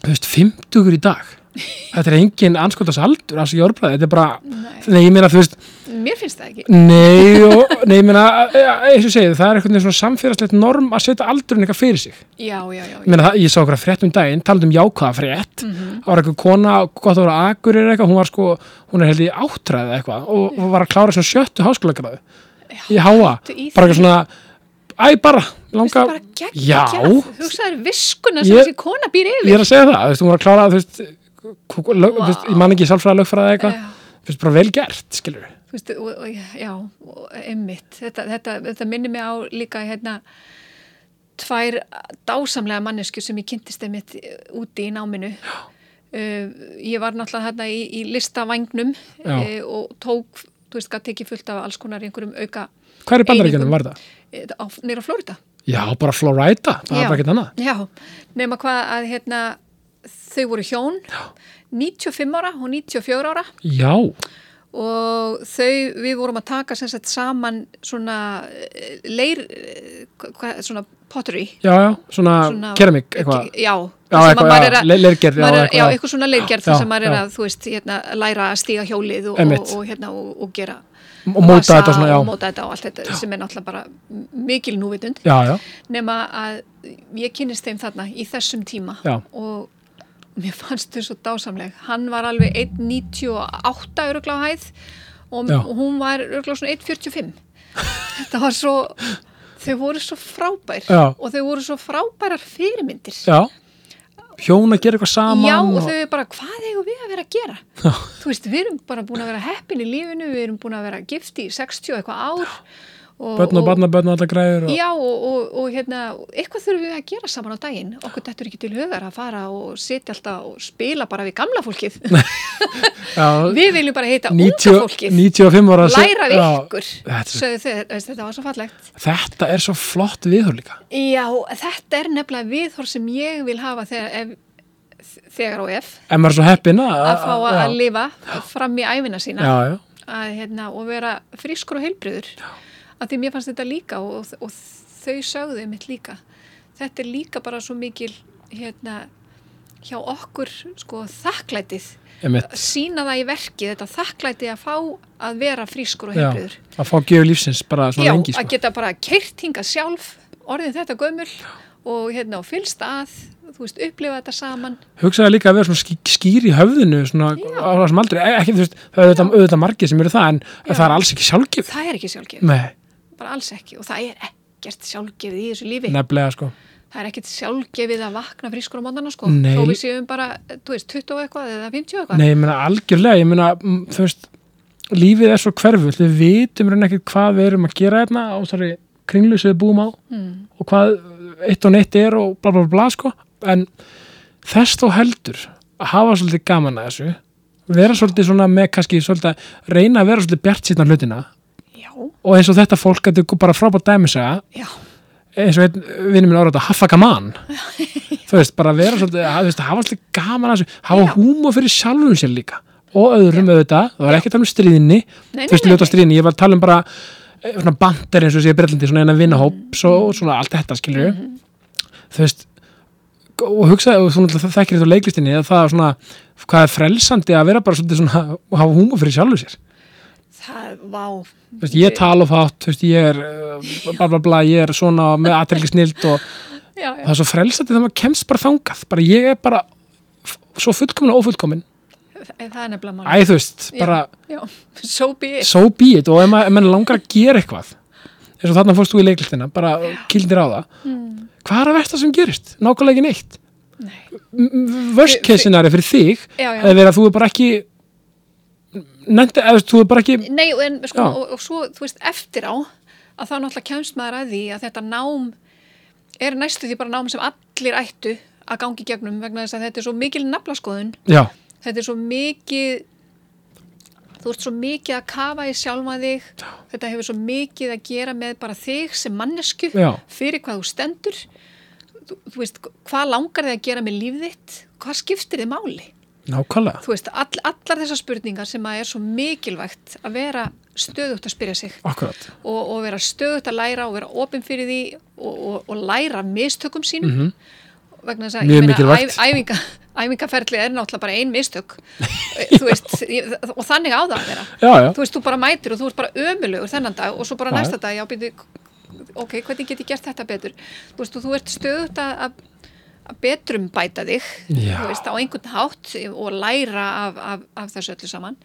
A: þú veist, 50 í dag þetta er engin anskotast aldur þessi jórbræði, þetta er bara
B: Nei.
A: nei, ég meina, þú veist,
B: Mér finnst það ekki
A: nei og, nei, ég meina, eh, eins og ég segi það er einhvern veginn svona samfélagslegt norm að setja aldurinn eitthvað fyrir sig
B: Já, já, já,
A: ég, meina, það- ég sá okkur að frétt um daginn, talað um jákvæða frétt
B: Mhm.
A: það var eitthvað kona, gott að vera agur eitthvað, hún var sko, hún er held í áttræði eitthvað og, og var að klára svo sjöttu háskóla gráðu í háa,
B: ertu í
A: bara eitthvað svona æ bara,
B: Mér finnst
A: langa
B: það bara gegn
A: já,
B: Hugsaður viskuna
A: Ég-
B: sem þessi kona býr
A: ég
B: yfir
A: er að segja það, þú veist, hún var að klára þú veist, kú- kú- lög,
B: Vá.
A: þú veist ég man ekki sálfræða lögfræða eitthvað,
B: Já.
A: þú veist, bara vel gert, skilur við
B: Þú veist, og, og, já, og, einmitt þetta, þetta, þetta minnir mig á líka hérna, tvær dásamlega mannesku sem ég kynntist einmitt eh, úti í náminu uh, ég var náttúrulega hérna í, í listavangnum
A: Já.
B: uh, og tók, þú veist, gæti ekki fullt af alls konar einhverjum auka
A: hvað er í bandaríkjunum,
B: Einingum.
A: var það?
B: eh, á- niður á Flórida
A: já, bara Florida, það
B: Já.
A: er bara ekkert annað
B: Já, nema hvað að hérna, þau voru hjón 95 ára og 94 ára
A: já,
B: og þau, við vorum að taka sem sagt saman svona eh, leir, eh, hva, svona pottery
A: já, já, svona, svona
B: Svona-
A: keramik, Ah, eitthvað
B: Ekki- Já,
A: Já,
B: þar sem
A: eitthvað,
B: að maður
A: já,
B: er að-
A: le- leirgerð, já,
B: maður er-
A: eitthvað,
B: Já,
A: já.
B: eitthvað svona leirgerð þar
A: Já,
B: sem maður er
A: já.
B: að, þú veist, hérna, læra að stíga hjólið og,
A: Einmitt.
B: og, og, hérna, og, og gera
A: Og móta
B: vasa
A: þetta svona, já.
B: og móta þetta og allt þetta sem er náttúrulega bara m- mikil núvitund
A: já, já,
B: nema að ég kynist þeim þarna í þessum tíma
A: Já.
B: og mér fannst þau svo dásamleg hann var alveg 1,98 örugla á hæð og,
A: Já.
B: og hún var örugla svona 1,45 þetta var svo þau voru svo frábær
A: Já.
B: og þau voru svo frábærar fyrirmyndir
A: já hjón að gera eitthvað saman
B: Já, og
A: og-
B: þau eru bara, hvað eigum við að vera að gera? Þú veist, við erum bara búin að vera heppin í lífinu, við erum búin að vera gift í 60 eitthvað ár og,
A: Bönn og barnabönn og alla græður og...
B: Já og, og, og hérna, eitthvað þurfum við að gera saman á daginn. Okkur dettur ekki til hugar að fara og sitja alltaf og spila bara við gamla fólkið.
A: Já,
B: við viljum bara heita
A: 90
B: unga fólkið.
A: 95 ára
B: Læra við
A: Já,
B: ykkur.
A: þetta er-
B: Sögðu þau, veist, þetta var svo fallegt.
A: Þetta er svo flott viðhör líka
B: Já, þetta er nefnilega viðhorf sem ég vil hafa þegar, ef, þegar og ef
A: En maður er svo heppin
B: að fá að,
A: já.
B: lifa fram í æfina sína
A: Já, já,
B: að, hérna, og vera frískur og heilbriður að því mér fannst þetta líka og, og, og þau sögðu mitt líka þetta er líka bara svo mikil hérna, hjá okkur sko, þakklætið
A: einmitt
B: sína það í verki þetta þakklætið að fá að vera frískur og
A: já,
B: heilbriður
A: Að fá gjöf lífsins bara svona
B: Já,
A: lengi
B: að
A: sko.
B: geta bara keirt hinga sjálf orðin þetta gömul og hérna og fylst að, þú veist, upplifa þetta saman
A: Hugsaði líka að vera svona ský- skýr í höfðinu svona, á þessum aldrei, E- ekki þú veist það er auðvitað, auðvitað margir sem eru það en
B: Já.
A: það er alls ekki sjálfgif
B: það er ekki sjálfgefið,
A: Nei,
B: bara alls ekki og það er ekkert sjálfgefið í þessu lífi
A: nefnilega sko
B: það er ekkert sjálfgefið að vakna frískur á mótana sko,
A: Nei.
B: þó við séum bara þú veist, 20 og eitthvað eða 50 og eitthvað
A: Nei, ég meina algjörlega, ég meina mm, þú veist, lífið er svo hverfult við vitum raun ekkert hvað við erum að gera hérna á þessari kringlu sem við búum á og hvað eitt og neitt er og bla bla bla sko en þess þó heldur að hafa svolítið gaman að þessu vera svolítið svona með kannski svolítið að reyna að vera svolítið bjart sýtna hlutina
B: já,
A: og eins og þetta fólk að þetta er bara frábært dæmisaga
B: já,
A: eins
B: eins
A: og einn vinnum minn ára þetta haffa gaman þú veist, bara vera svolítið að, þú veist, hafa svolítið gaman að þessu, hafa
B: Já.
A: húmor fyrir sjálfum sér líka og öðrum auðvitað, það var ekki að tala um stríðinni
B: Nei,
A: þú veist,
B: nei, nei,
A: ljóta stríðinni, ég var að tala um bara eh, svona bandir eins og sé brellandi, svona eina vinnahóp
B: Mhm.
A: svo, og svona allt þetta skilur þú veist og hugsa, og þú náttúrulega þekkir þetta á leiklistinni að það er svona, hvað er frelsandi að vera bara svolítið svona, og hafa húmor fyrir sjálfum sér
B: það, vá
A: Þú veist, ég tala of hátt, þú veist, ég er eh, bla bla bla, ég er svona með aðtrygglisnild og
B: já,
A: það
B: já,
A: er svo frelsandi þegar maður kemst bara þangað bara ég er bara f- svo fullkomin og ófullkomin
B: það það er nefnilega mál
A: æ þú veist, bara
B: já, so be it
A: so be it og ef maður, ef maður langar að gera eitthvað eins og þarna fórst þú í leiklistina bara kildir á það hvað er að versta sem gerist? nákvæmlega ekki neitt
B: Hmm. Nei.
A: M- worst
B: Fyr- fyr-
A: case scenario fyrir þig
B: Já, já.
A: hefði verið að þú er bara ekki nefndi, eða þú er bara ekki
B: Nei, og en sko,
A: Já.
B: og, og svo, þú veist, eftir á að þá náttúrulega kemst maður að því að þetta nám er næstu því bara nám sem allir ættu að gangi gegnum vegna þess að þetta er svo mikil naflaskoðun
A: já,
B: þetta er svo mikið þú ert svo mikið að kafa í sjálfa þig þetta hefur svo mikið að gera með bara þig sem mannesku
A: Já.
B: fyrir hvað þú stendur þú, þú veist, hvað langar þig að gera með líf þitt hvað skiptir þið máli
A: nákvæmlega
B: þú veist, all, allar þessar spurningar sem að er svo mikilvægt að vera stöðugt að spyrja sig
A: akkurat,
B: og, og vera stöðugt að læra og vera opinn fyrir því og, og, og læra mistökum sínum vegna þess að
A: Mhm. Mjög
B: ég meina,
A: mikilvægt.
B: æf- æfinga, æfingaferli er náttúrulega bara ein mistök Þú veist, ég, og þannig á það að vera
A: já já
B: þú veist, þú bara mætir og þú ert bara ömulugur þennan dag og svo bara
A: Já.
B: næsta dag, já, býtu ok, hvernig get ég gert þetta betur þú veist, og þú ert stöðugt að, að að betrum bæta þig
A: Já.
B: þú veist, á einhvern hátt og læra af, af, af þessu öllu saman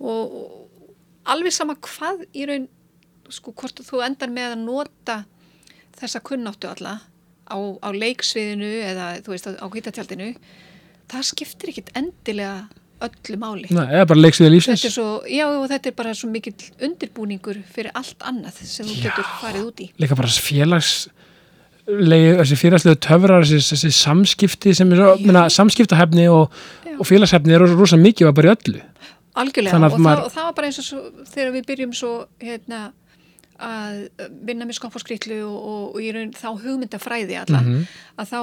B: og, og alveg sama hvað í raun sko hvort þú endar með að nota þessa kunnáttu alla á, á leiksviðinu eða þú veist á, á hvítatjaldinu það skiptir ekkit endilega öllu máli
A: Nei, eða bara leiksviði lífsins
B: þetta er svo, já og þetta er bara svo mikill undirbúningur fyrir allt annað sem þú
A: Já.
B: getur farið út í
A: líka bara þessi félags legi, þessi félagslegu töfrar þessi, þessi samskipti sem er svo,
B: Já.
A: minna, samskiptahefni og,
B: Já.
A: og félagshefni eru rosa mikið og bara í öllu
B: algjörlega
A: Þannig að
B: og, það,
A: maður-
B: og það var bara eins og svo, þegar við byrjum svo hérna að vinna með skopp og skrýtlu og, og, og ég raun þá hugmyndafræði alla
A: Mhm.
B: að þá,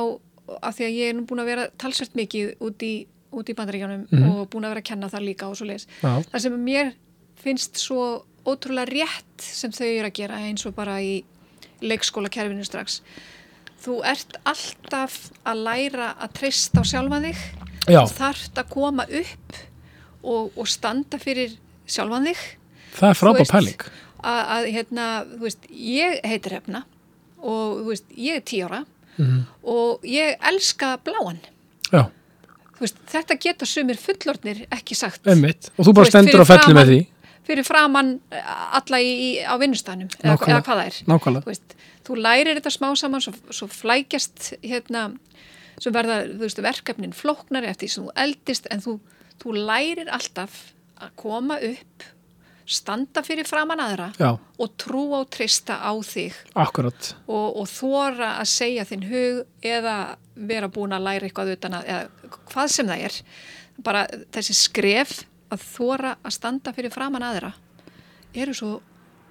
B: að því að ég er nú búin að vera talsvert mikið út í, út í bandaríkjánum og búin að vera að kenna það líka og svo leis
A: Mhm. Já.
B: það sem mér finnst svo ótrúlega rétt sem þau eru að gera eins og bara í leikskóla kerfinu strax þú ert alltaf að læra að treysta á sjálfa þig
A: já,
B: þarft að koma upp og, og standa fyrir sjálfan þig
A: það er
B: Þú
A: frábær
B: veist,
A: pæling
B: að, að hérna, þú veist, ég heitir Hefna og þú veist, ég er tí ára
A: Mhm.
B: og ég elska bláan
A: já,
B: Þú veist, þetta geta sumir fullornir ekki sagt
A: einmitt, og þú bara
B: veist,
A: stendur
B: fyrir
A: og fellur með því
B: framan- fyrir framann eh, alla í, í, á vinnustanum eða,
A: Nákvæmlega.
B: eða hvað það er
A: nákvæmlega,
B: þú veist, þú lærir þetta smá saman svo, svo flækjast hérna sem verða, þú veist, verkefnin flóknari eftir því sem þú eldist en þú, þú lærir alltaf að koma upp standa fyrir framann aðra
A: já,
B: og trúa og treysta á þig
A: akkurat
B: og, og þóra að segja þinn hug eða vera búin að læra eitthvað utan að, eða hvað sem það er bara þessi skref að þóra að standa fyrir framann aðra eru svo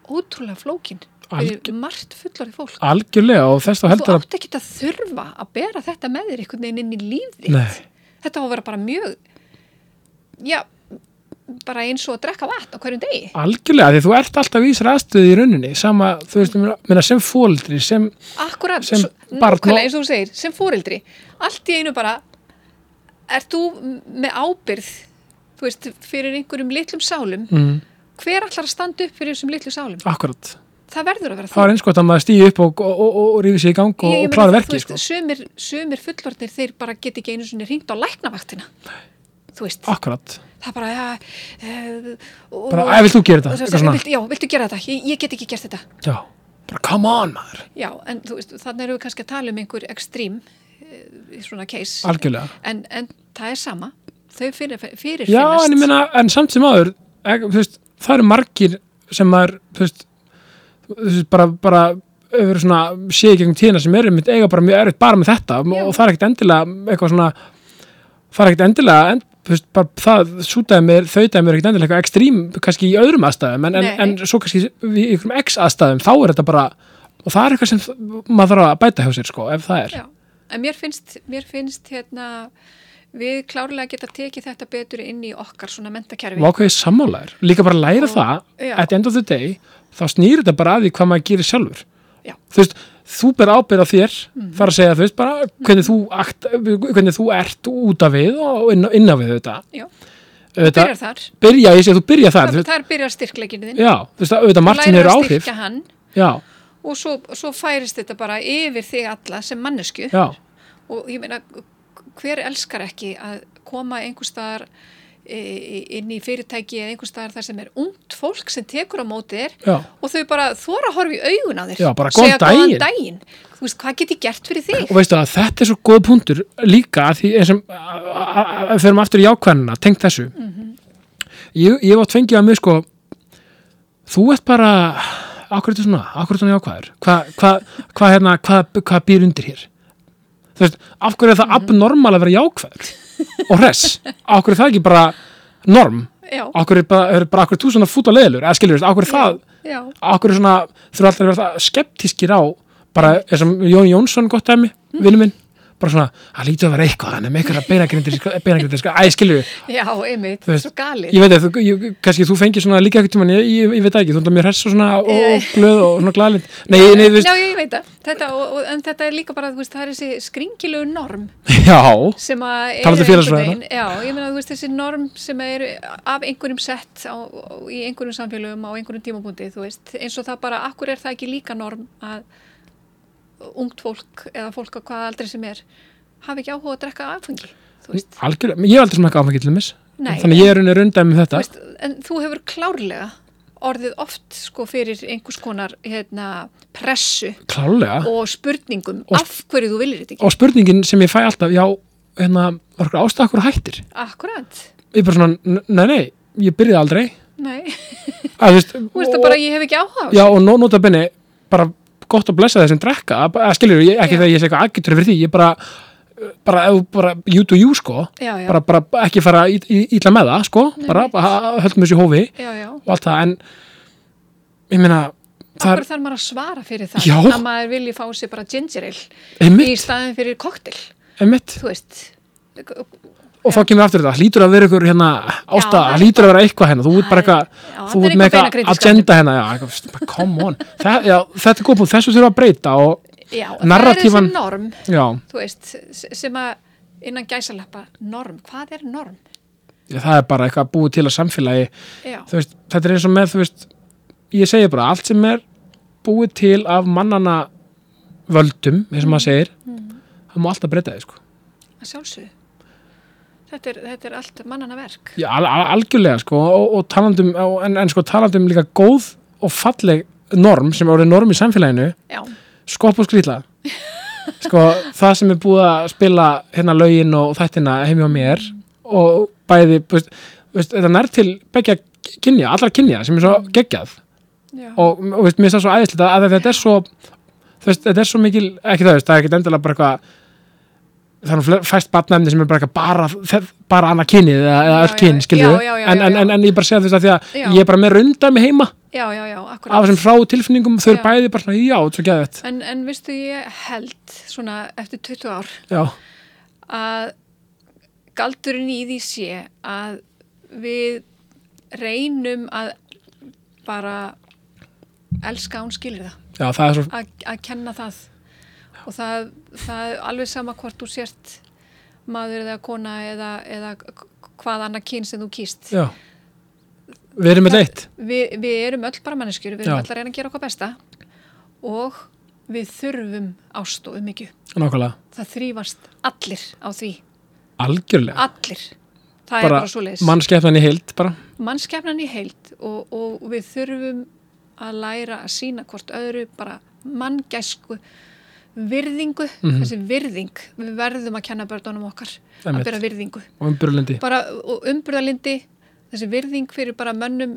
B: ótrúlega flókin
A: Algjör-
B: fyrir margt fullorðið fólk
A: algjörlega og þess þá
B: þú
A: heldur að
B: átt ekki að þurfa að bera þetta með þér einhvern veginn inn í lífið
A: Nei.
B: þetta á að vera bara mjög já, bara eins og að drekka vatn á hverjum degi
A: algjörlega, því þú ert alltaf í þessari aðstöðu í rauninni, sama, þú veist, minna, sem fóldri, sem,
B: Akkurat,
A: Sem
B: svo-
A: barn og-
B: nákvæmlega eins og þú segir, sem fóreldri allt í einu bara er þú m- með ábyrð þú veist, fyrir einhverjum litlum sálum
A: mm,
B: hver allar að standa upp fyrir þessum litlu sálum
A: akkurat
B: það verður að vera
A: það
B: þú
A: er eins gott að maður stýja upp og, og, og, og rífi sig í gang og, og
B: Ég- ég meina,
A: klára
B: þú
A: verkið,
B: veist,
A: sko,
B: sumir, sumir fullorðnir þeir bara get ekki einu sinni ringt á læknavaktina þú veist,
A: akkurat
B: það bara ja, uh, og,
A: Ah. bara, æ, vilt þú gera þetta,
B: og,
A: eitthvað svona
B: vilt, já, viltu gera þetta, ég, ég get ekki gert þetta
A: já, bara come on, maður,
B: já, en þú veist, þannig erum við kannski að tala um einhver ekstrím eh, svona case
A: algjörlega
B: en, en það er sama þau fyrir, fyrir
A: Já, en ég meina, en samt sem aður ek, þú veist, það eru margir sem maður, þú veist, þú veist bara, bara öfur svona séð í gegnum tíðina sem eru mitt eiga bara mjög erfitt bara með þetta
B: Já.
A: og það er ekkert endilega eitthvað svona það er ekkert endilega en, þú veist, bara, það sútaði mér, þautaði mér ekkert endilega eitthvað ekstrím, kannski í öðrum aðstæðum en, en,
B: Nei.
A: en svo kannski í einhverjum x aðstæðum þá er þetta bara, og það er eitthvað sem maður þarf að bæta hjá sér, sko, ef það er
B: Já, en mér finnst, mér finnst hérna, við klárlega geta tekið þetta betur inn í okkar svona mentakerfi
A: og ákveðið sammálaður, líka bara læra
B: Og-
A: það
B: Sko, já.
A: at the end of the day, þá snýr þetta bara að því hvað maður gerir sjálfur
B: Já. Mhm.
A: þú veist, þú ber ábyrð á þér þar að segja, þú veist, bara hvernig þú, akt, hvernig þú ert út af við og inn, inn á við þetta,
B: Já,
A: þetta
B: byrjar þar,
A: byrja, ég segi þú byrja þar
B: það,
A: þú veist,
B: þar byrjar styrkleikinu þinn
A: já, þú veist, auðvitað margt sem
B: lærir
A: eru
B: að
A: áhrif
B: styrkja hann
A: já,
B: og svo, svo færist þetta bara yfir þig alla sem mannesku
A: já,
B: og ég meina, hver elskar ekki að koma einhver staðar e, inn í fyrirtæki eða einhver staðar þar sem er ungt fólk sem tekur á móti þér
A: já
B: og þau bara þóra að horfa í augun á þér
A: Já, bara,
B: segja
A: "Góðan
B: góðan
A: daginn."
B: daginn þú veist, hvað get ég gert fyrir þig
A: og veistu að þetta er svo góð punktur líka að því eins og að við förum aftur í jákvæðina, tengt þessu
B: Mhm.
A: ég, ég var tvengið að mig sko þú ert bara akkur þetta svona, akkur þetta jákvæður hvað hva, hva, hérna, hva, hva býr undir hér þú veist, af hverju er
B: Mhm.
A: það abnormal að vera jákvæður og hress, af hverju er það ekki bara norm,
B: já,
A: af hverju er bara, er bara af hverju er þú svona fút á leðilur, eða skilur veist, af hverju er það
B: já,
A: okkur svona, þurfa alltaf að vera það skeptískir á, bara eins og Jón Jónsson gott dæmi, mm. vinnu minn bara svona, það lítur að vera eitthvað, hann er með eitthvað beinagrindir, beinagrindir, sko, æ, skilur við
B: já, einmitt,
A: Þú veist,
B: svo galið
A: ég veit að þú, ég, kannski þú fengir svona líka eitthvað tímann, ég, ég, ég veit það ekki, þú ert mér hress og svona og glöð og svona glalind nei, nei, þú
B: já,
A: veist,
B: ég veit það, þetta, og, og, en þetta er líka bara, þú veist, það er þessi skringilegu norm
A: já
B: sem að eru
A: Talandi
B: einhvern
A: félagsfræðina.
B: veginn- já, ég meina, þú veist, þessi norm sem eru af einhverjum sett á, í einhverjum samfélögum á einhverjum tímabúndi, þú veist, eins og það bara akkur er það ekki líka norm að ungt fólk eða fólk á hvaða aldrei sem er hafi ekki áhuga að drekka áfengi, þú veist
A: algjörlega, ég hef aldrei smakað áfengi til þeimis
B: Nei.
A: þannig ég er unni rundaði með
B: Þú
A: þetta
B: veist, en þú hefur klárlega orðið oft sko fyrir einhvers konar hérna, pressu
A: klálega,
B: og spurningum af hverju þú viljir þetta ekki
A: og spurningin sem ég fæ alltaf, já, hérna var okkur ástæða okkur hættir,
B: akkurat,
A: ég bara svona, "N- nei, nei ég byrjaði aldrei
B: nei,
A: að, þú veist,
B: þú veist
A: og-
B: það bara ég hef ekki áhuga á
A: Já, og nó- nota benni, bara gott að blessa þeir sem drekka, að- að skiljur, ég, ekki
B: Já.
A: þegar ég sé eitthvað aðgjötur fyrir því, ég bara, bara, ef þú bara you do you, sko,
B: Já, já.
A: Bara, bara ekki fara í- í- ítla með það, sko, bara,
B: mitt.
A: bara höldum þessu í hófi
B: já, já,
A: og allt það, en ég meina,
B: af
A: það er,
B: hverju þarf maður að svara fyrir það
A: Já.
B: að maður vilji fá sér bara ginger ale í
A: einmitt,
B: staðin fyrir koktel,
A: einmitt,
B: þú veist
A: og þá kemur aftur þetta, hlýtur að vera ykkur hérna ástæða, það hlýtur að vera eitthvað hérna, þú ert bara eitthvað,
B: Já,
A: þú
B: þarna er
A: ert með
B: eitthvað
A: eitthvað
B: beinagrindiskapur.
A: agenda hérna, já, eitthvað, bara come on, það, já, þetta er góð punkt, þessu þurfa að breyta og,
B: já, það er
A: Narratífan-
B: þessi norm
A: já,
B: þú veist, s- sem að innan gæsalappa, norm, hvað er norm?
A: já, það er bara eitthvað búið til að samfélagi
B: Já,
A: þú veist, þetta er eins og með, þú veist ég segi bara, allt sem er búið til af mannana völdum, eins og maður segir það má alltaf breyta þið, sko
B: að sjálfsögðu þetta er, þetta er allt mannana verk
A: Já, al al algjörlega, sko, og, og talandum og, en, en sko, talandum líka góð og falleg norm, sem er orðið norm í samfélaginu
B: Já,
A: skopp og skrýtla sko, það sem er búið að spila hérna lögin og þættina heim hjá mér og bæði, þú veist, þú veist þetta nær til begja kynja, allra kynja sem er svo geggjað
B: já,
A: og og, veist, mér finnst það svo æðislegt að að þetta er svo þú veist, þetta er svo mikil, ekki það veist, það er ekkit endilega bara eitthvað þannig að fæst batnæmni sem er bara eitthvað bara, þe- bara annað kynið eða, eða
B: Já,
A: öll
B: já,
A: kyn,
B: já,
A: skilju
B: já, já,
A: en, en,
B: já.
A: en, en ég bara segja þú veist að því að
B: Já.
A: ég er bara með rundar mig heima
B: já, já, já akkurat.
A: af þessum frá tilfinningum, þau eru
B: Já.
A: bæði bara svona, já, þetta er svo geðvett
B: En, en veistu, ég held svona eftir 20 ár
A: já,
B: að galdurinn í því sé að við reynum að bara elska að hún skilur það,
A: já, það er svo
B: að, að kenna það og það, það er alveg sama hvort þú sért maður eða kona eða, eða hvað annað kyn sem þú kýst.
A: já. við erum með
B: Það-
A: leitt
B: Við, við erum öll bara manneskjur, við erum
A: Já.
B: öll að reyna að gera okkar besta og við þurfum ást og umhyggju.
A: nákvæmlega,
B: það þrýfast allir á því,
A: algjörlega
B: allir það er
A: bara
B: bara svo leis
A: mannskeppnan í heild bara,
B: mannskefnan í heild og, og við þurfum að læra að sína hvort öðru bara manngæsku virðingu,
A: Mhm.
B: þessi virðing við verðum að kenna börnunum okkar
A: Einmitt.
B: að byrja virðingu,
A: og um umburlindi
B: bara og umburðalindi þessi virðing fyrir bara mönnum,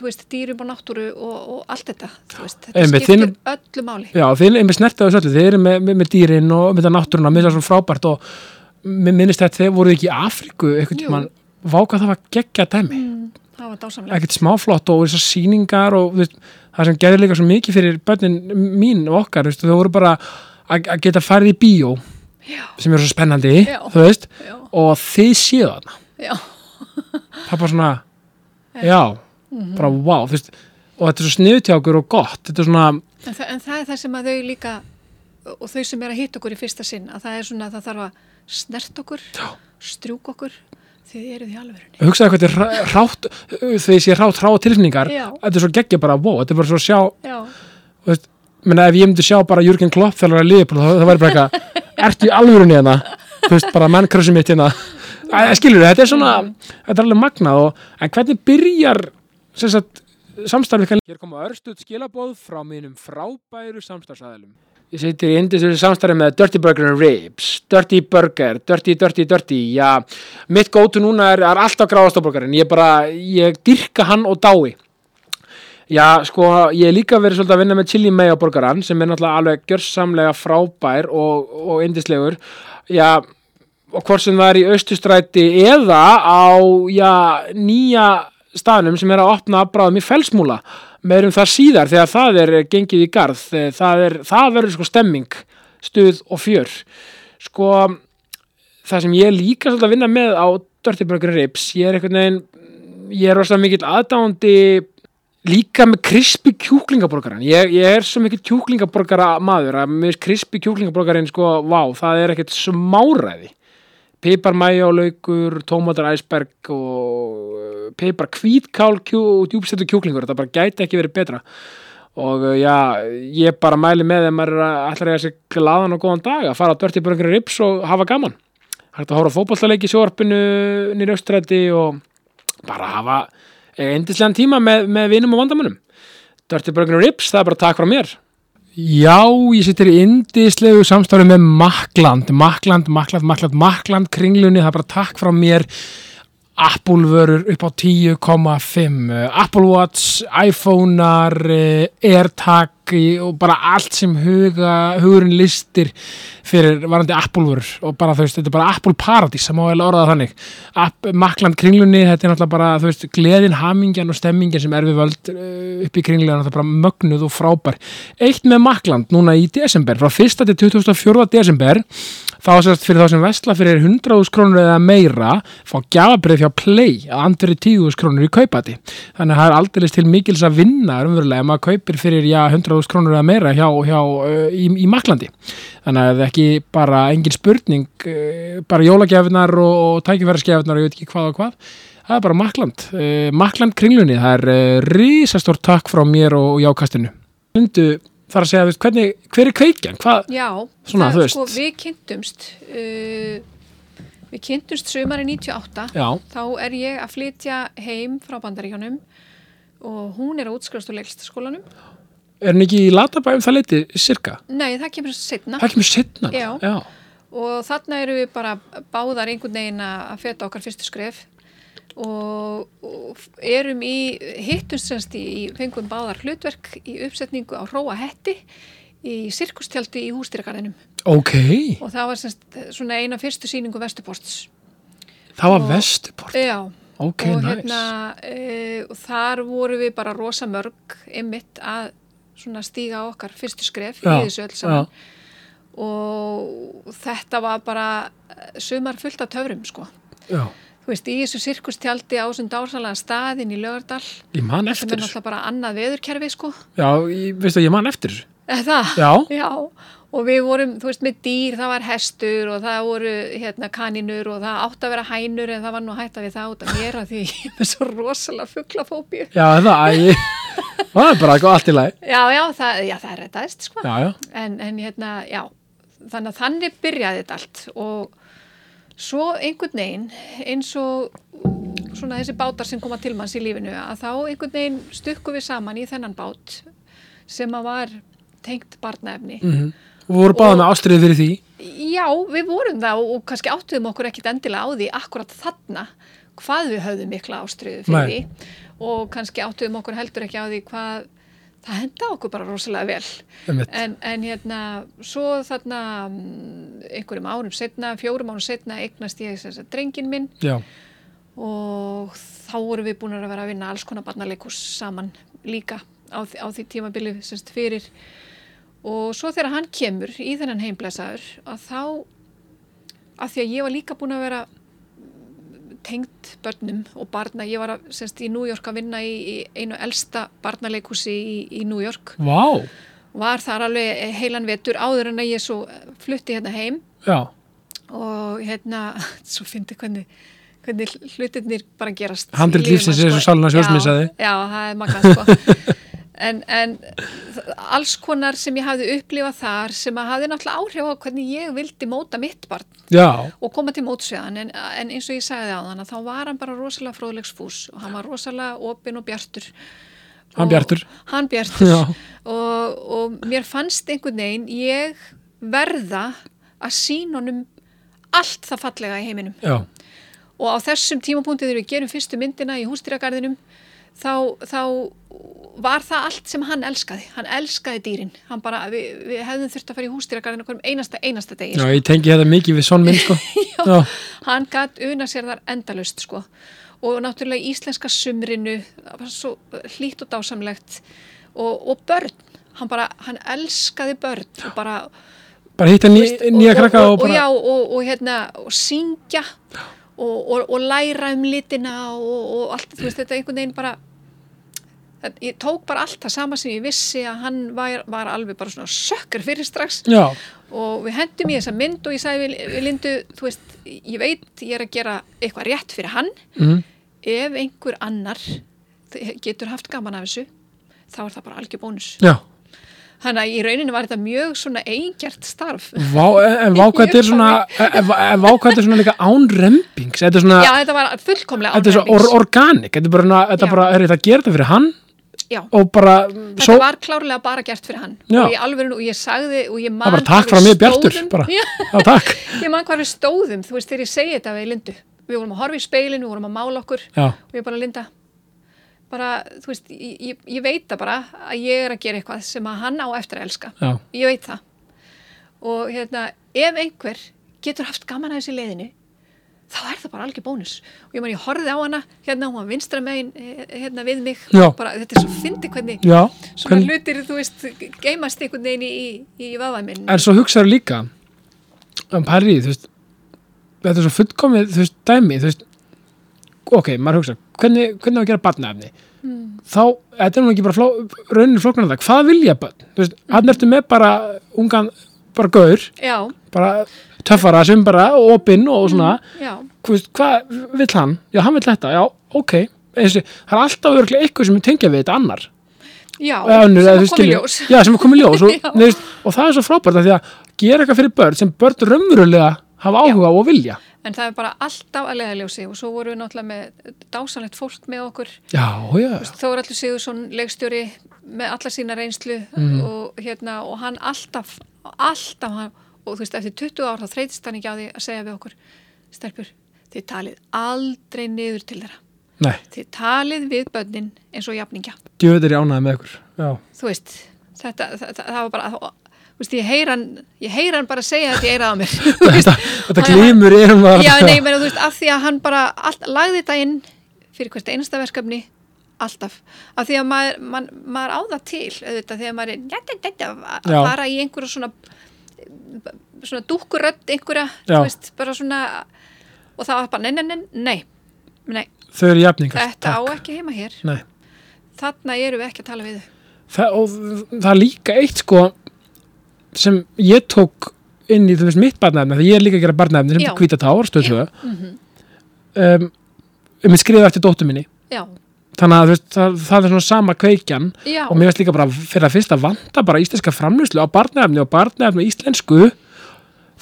B: þú veist, dýrum og náttúru og, og allt þetta, þú veist, þetta
A: Einmitt,
B: skiptir
A: þinn-
B: öllu máli
A: Já, þið erum með snertið á þessu öllu, þið eru með, með, með dýrin og með það náttúruna, með það svo frábært og mér minnist þetta þegar voruð þið ekki í Afríku einhvern
B: Jú. Mm.
A: tímann, váka það var geggja dæmi,
B: það var dásamlega
A: ekkert smáflott og þessar sýningar og þú veist, það sem gerði líka svo mikið fyrir börnin mín og okkar, þú veist, þau voru bara að að geta farið í bíó
B: Já.
A: sem er svo spennandi,
B: Já.
A: þú veist
B: já,
A: og þið séu þarna,
B: já,
A: það er bara svona já,
B: Mhm.
A: bara wow þú veist, og þetta er svo sniðutjákur og gott þetta er svona,
B: En, þa en það er það sem að þau líka og þau sem er að hitta okkur í fyrsta sinn að það er svona að það þarf að snert okkur Já. strjúk okkur þið eruð í alvörunni
A: hugsaðu hvað þetta er rátt þegar ég sé rátt rátt tilfinningar
B: Já.
A: þetta er svo geggja bara, wow, þetta er bara svo að sjá
B: Já,
A: þú veist, menna, ef ég myndi sjá bara Jürgen Klopp þegar að liða, það, það væri bara eitthvað ertu í alvörunni hérna þú veist, bara mannkrössi mitt hérna Æ, skilur þetta er svona, þetta er alveg magnað og, en hvernig byrjar sem sagt, samstarfið kann Hér koma örstuð skilabóð frá mínum frábæru samstarfsæðalum Ég seti í indisölu samstarfið með Dirty Burger and Ribs, Dirty Burger, Dirty, Dirty, Dirty, já, mitt gótu núna er, er alltaf gráðastofburgarinn, ég bara, ég dyrka hann og dái. Já, sko, ég hef líka verið svolítið að vinna með chili mayo borgaran sem er náttúrulega alveg gjörsamlega frábær og, og indislegur. Já, og hvort sem það er í austustræti eða á, já, nýja staðnum sem er að opna bráðum í felsmúla. Meirum það síðar þegar það er gengið í garð. Eh, Það, er, það verður sko stemming, stuð og fjör. Sko, það sem ég er líka svolítið að vinna með á Dirty Burger Rips, ég er einhvern veginn, ég er rosalega mikill aðdáandi líka með krispi kjúklingaborgaran ég, ég er svo mikið kjúklingaborgara maður að með krispi kjúklingaborgarin sko, vá, það er ekkert smáræði pipar mæjálaukur tómatar æsberg og uh, pipar kvítkál kjú, og djúbstættu kjúklingur, þetta bara gæti ekki verið betra og uh, já, ég bara mæli með þegar maður er að- ætlar að eiga sér glaðan og góðan dag að fara að dörti börnir rips og hafa gaman hægt að hóra fótballtaleiki í sjóarpinu nýri austræti og bara hafa eindislegan tíma með, með vinum og vandamönnum Dirty Burger and Rips, það er bara takk frá mér Já, ég sittir í indislegu samstarfi með Makland, Makland, Makland, Makland, Makland, kringlunni, það er bara takk frá mér, Apple vörur upp á 10,5, eh, Apple Watch, iPhone-ar, eh, AirTag í- og bara allt sem huga, hugurinn listir fyrir varandi Apple vörur og bara þú veist, þetta er bara Apple Paradís, það má vel orða það þannig. App, Makland kringlunni, þetta er náttúrulega bara, þú veist, gleðin, hamingjan og stemmingjan sem er við völd eh, upp í kringlunni, þetta er bara mögnuð og frábær. Eitt með Makland núna í desember, frá 1. til 24. desember, þá sérst fyrir þá sem vesla fyrir 100.000 krónur eða meira fá gjafabrið hjá Play að andri 10.000 krónur í kaupati þannig að það er aldrei til mikils að vinna umverulega ef maður kaupir fyrir já, 100.000 krónur eða meira hjá, hjá, uh, í, í Maklandi þannig að ekki bara engin spurning uh, bara jólagjafinar og, og tækifæraskjafinar og ég veit ekki hvað og hvað það er bara Makland, uh, Makland kringlunni það er uh, risastór takk frá mér og, og jákastinu Myndu þar að segja, þú veist, hvernig, hver er kveikjan? Hvað,
B: já
A: Svona,
B: það,
A: þú veist.
B: sko, Við kynntumst uh, við kynntumst sumari 98
A: já,
B: þá er ég að flytja heim frá bandaríkjónum og hún er að útskrifast úr leikstaskólanum
A: er hann ekki í latabæum það leiti, cirka?
B: Nei, það kemur setna
A: Það kemur setna.
B: Já.
A: Já.
B: og þarna eru við bara báðar einhvern veginn að að feta okkar fyrstu skref og, og erum í hittumstrenst í, fengum báðar hlutverk í uppsetningu á Róa Hetti í sirkustjaldi í hústýragarðinum
A: Ok,
B: og það var semst, svona eina fyrstu sýningu Vesturposts
A: það var
B: Og-
A: vestuport
B: Já,
A: Ok,
B: og
A: næs
B: hérna e, og þar voru við bara rosa mörg einmitt að svona stíga á okkar fyrstu skref
A: Já,
B: í þessu öll saman og þetta var bara eh, sumar fullt af töfrum sko
A: já, já,
B: þú veist, í þessu sirkustjaldi á þessum dársalega staðin í Laugardal sem
A: ég man
B: er
A: eftir þessu.
B: náttúrulega bara annað veðurkerfi sko
A: Já, ég, veistu að ég man eftir þessu.
B: Eh, það,
A: Já,
B: og við vorum, þú veist, með dýr það var hestur og það voru hérna, kaninur og það átt að vera hænur en það var nú hægt að við það út að mér af því ég er með svo rosalega fugglafóbíu
A: já, það, æ, það er bara eitthvað allt í lagi.
B: já, já, það, já, það er rettaðist sko.
A: Já, já,
B: en, en hérna, já þannig að þannig byrjaði þetta allt og svo einhvern veginn eins og svona þessi bátar sem koma til manns í lífinu að þá einhvern veginn stukku við saman í þennan bát sem að var tengt barnaefni
A: mm Við vorum báða
B: Og-
A: með ástriðið fyrir því.
B: Já, við vorum það og, og kannski áttuðum okkur ekkit endilega á því akkurat þarna hvað við höfðum mikla ástriðu fyrir
A: Nei.
B: því og kannski áttuðum okkur heldur ekki á því hvað það henda okkur bara rosalega vel
A: Einmitt.
B: en, en hérna svo þarna mm, einhverjum árum setna, fjórum árum setna eignast ég þess að drengin minn
A: Já,
B: og þá vorum við búin að vera að vinna alls konar barnaleikus saman líka á, þ- á því tímabili semst fyrir og svo þegar hann kemur í þennan heimblæsaður að þá að því að ég var líka búin að vera tengt börnum og barna, ég var að, semst í New York að vinna í, í einu elsta barnaleikusi í, í New York
A: vá,
B: var þar alveg eh, heilan vetur áður en að ég svo flutti hérna heim
A: já,
B: og hérna, svo fyndi hvernig hvernig hlutirnir bara gerast í
A: Handrit
B: lífi
A: lífsins
B: manns,
A: er eins og sálin hans Jósmín
B: Já,
A: sagði.
B: Já, það er magnað sko en, en þ- alls konar sem ég hafði upplifað þar sem að hafði náttúrulega áhrif á hvernig ég vildi móta mitt barn
A: já,
B: og koma til mótsveðan en, en eins og ég sagði á þann þá var hann bara rosalega fróðlegsfús og hann var rosalega opinn og bjartur
A: Hann
B: Og-
A: Bjartur.
B: Hann bjartur
A: Já.
B: og, og mér fannst einhvern veginn ég verða að sína honum allt það fallega í heiminum
A: já,
B: og á þessum tímapunktið þegar við gerum fyrstu myndina í hústýragarðinum þá, þá var það allt sem hann elskaði, hann elskaði dýrin hann bara, við, við hefðum þurft að fara í hústýragarðinu hverjum einasta, einasta degi
A: já, ég tengi þetta mikið við sonn minn, sko. já,
B: hann gatt una sér þar endalaust sko og náttúrulega í íslenska sumrinu það var svo hlýtt og dásamlegt og, og börn hann bara, hann elskaði börn og bara,
A: bara hitta ný,
B: veist,
A: nýja krakka og
B: og,
A: bara,
B: já, og, og hérna, og syngja og, og, og læra um litina og, og allt, þú veist, þetta einhvern veginn bara það- ég tók bara allt það sama sem ég vissi að hann var, var alveg bara svona sökkur fyrir strax
A: já,
B: og við hendum í þessa mynd og ég sagði við, við Lindu, þú veist, ég veit ég er að gera eitthvað rétt fyrir hann
A: mm,
B: ef einhver annar getur haft gaman af þessu þá er það bara algjör bónus
A: já,
B: þannig að í rauninu var þetta mjög svona eigingjart starf
A: vá, en en vá, hvað þetta er svona, en- en vá- en vá, hvað þetta er svona líka án rempings, þetta er svona,
B: já, þetta var fullkomlega
A: þetta er svo or
B: ánægjulegt.
A: organik, þetta er bara, na- þetta
B: Já.
A: bara, herri, það gerir þetta fyrir hann
B: Já.
A: og bara,
B: þetta
A: svo,
B: var klárlega bara gert fyrir hann
A: Já.
B: og ég alveg, og ég sagði og ég man
A: það er bara
B: hvar
A: takk
B: við
A: frá mér Bjartur,
B: stóðum.
A: bara,
B: Já.
A: já, takk,
B: ég man hvað við stóðum, þú veist, þegar ég segi þetta við Lindu, við vorum að horfa í speilin, við vorum að mála okkur
A: já,
B: og ég bara Linda bara, þú veist, ég, ég- ég veit það bara að ég er að gera eitthvað sem að hann á eftir að elska
A: já,
B: ég veit það og hérna, ef einhver getur haft gaman að þessi leiðinu þá er það bara algjör bónus og ég man, ég horfði á hana, hérna hún var vinstra megin eh, hérna við mig,
A: Já.
B: bara þetta er svo fyndi hvernig,
A: já,
B: svona
A: Hvern-
B: hlutir þú veist, geimast einhvern veginn í, í, í vafa minn,
A: en svo hugsaður líka um París, þú veist þetta er svo fullkomið, þú veist, dæmi þú veist, ok, maður hugsa hvernig, hvernig á að gera barnaefni
B: Hmm.
A: þá, þetta er nú ekki bara fló, raunin flóknar það, hvað vilja barn, þú veist
B: Hmm.
A: hann ertu með bara ungan bara gaur,
B: já,
A: bara töffara sem bara, og opinn og svona
B: já
A: þú veist, hvað vill hann, já, hann vill þetta já, ok, eins og það er alltaf örglega eitthvað sem tengja við þetta annar
B: já,
A: Eða önnur,
B: sem
A: eða
B: að
A: þú
B: koma í
A: skilur.
B: ljós
A: já, sem er komið ljós og,
B: Já.
A: nei, þú veist, og það er svo frábært af því að gera eitthvað fyrir börn sem börn raunverulega hafa áhuga á og vilja
B: en það er bara alltaf að leiðaljósi og svo vorum við náttúrulega með dásanlegt fólk með okkur
A: já, já,
B: Þóraldur Sigursson, leikstjóri með alla sína reynslu og, hérna, og hann alltaf, alltaf hann, og þú veist, eftir 20 ár þá þreytist hann ekki á því að segja við okkur, stelpur, þið talið aldrei niður til þeirra
A: Nei,
B: þið talið við börnin eins og jafningja
A: djöður er ég ánæði með ykkur. Já,
B: þú veist, þetta, það, það, það var bara þú veist, ég heyra hann, ég heyra hann bara segja þetta í eyrað á mér þú
A: þetta, þetta
B: Og-
A: glýmur erum að...
B: Já, nei, menn, þú veist, af því að hann bara all, lagði þetta inn fyrir hvert einasta verkefni alltaf, af því að maður, maður, maður á það til, auðvitað, þegar maður er njætt, njætt, njætt,
A: Já.
B: að fara í einhverja svona svona dúkkurödd einhverja,
A: Já.
B: þú veist, bara svona og það var bara, nei, nei, nei, nei, nei
A: Þau eru jafningar.
B: þetta á ekki heima hér
A: Nei.
B: þarna erum við ekki að tala við þau
A: það, og þ- það er líka eitt sko sem ég tók inn í, þú veist, mitt barnaefni því ég er líka að gera barnaefni sem
B: Já. Mhm.
A: hvíta tár stöðsöðu um, um ég skrifa eftir dóttu minni
B: Já,
A: þannig að þú veist, það, það er svona sama kveikjan
B: já,
A: og mér veist líka bara fyrir að fyrsta vanta bara íslenska framlýslu á barnaefni og barnaefni á íslensku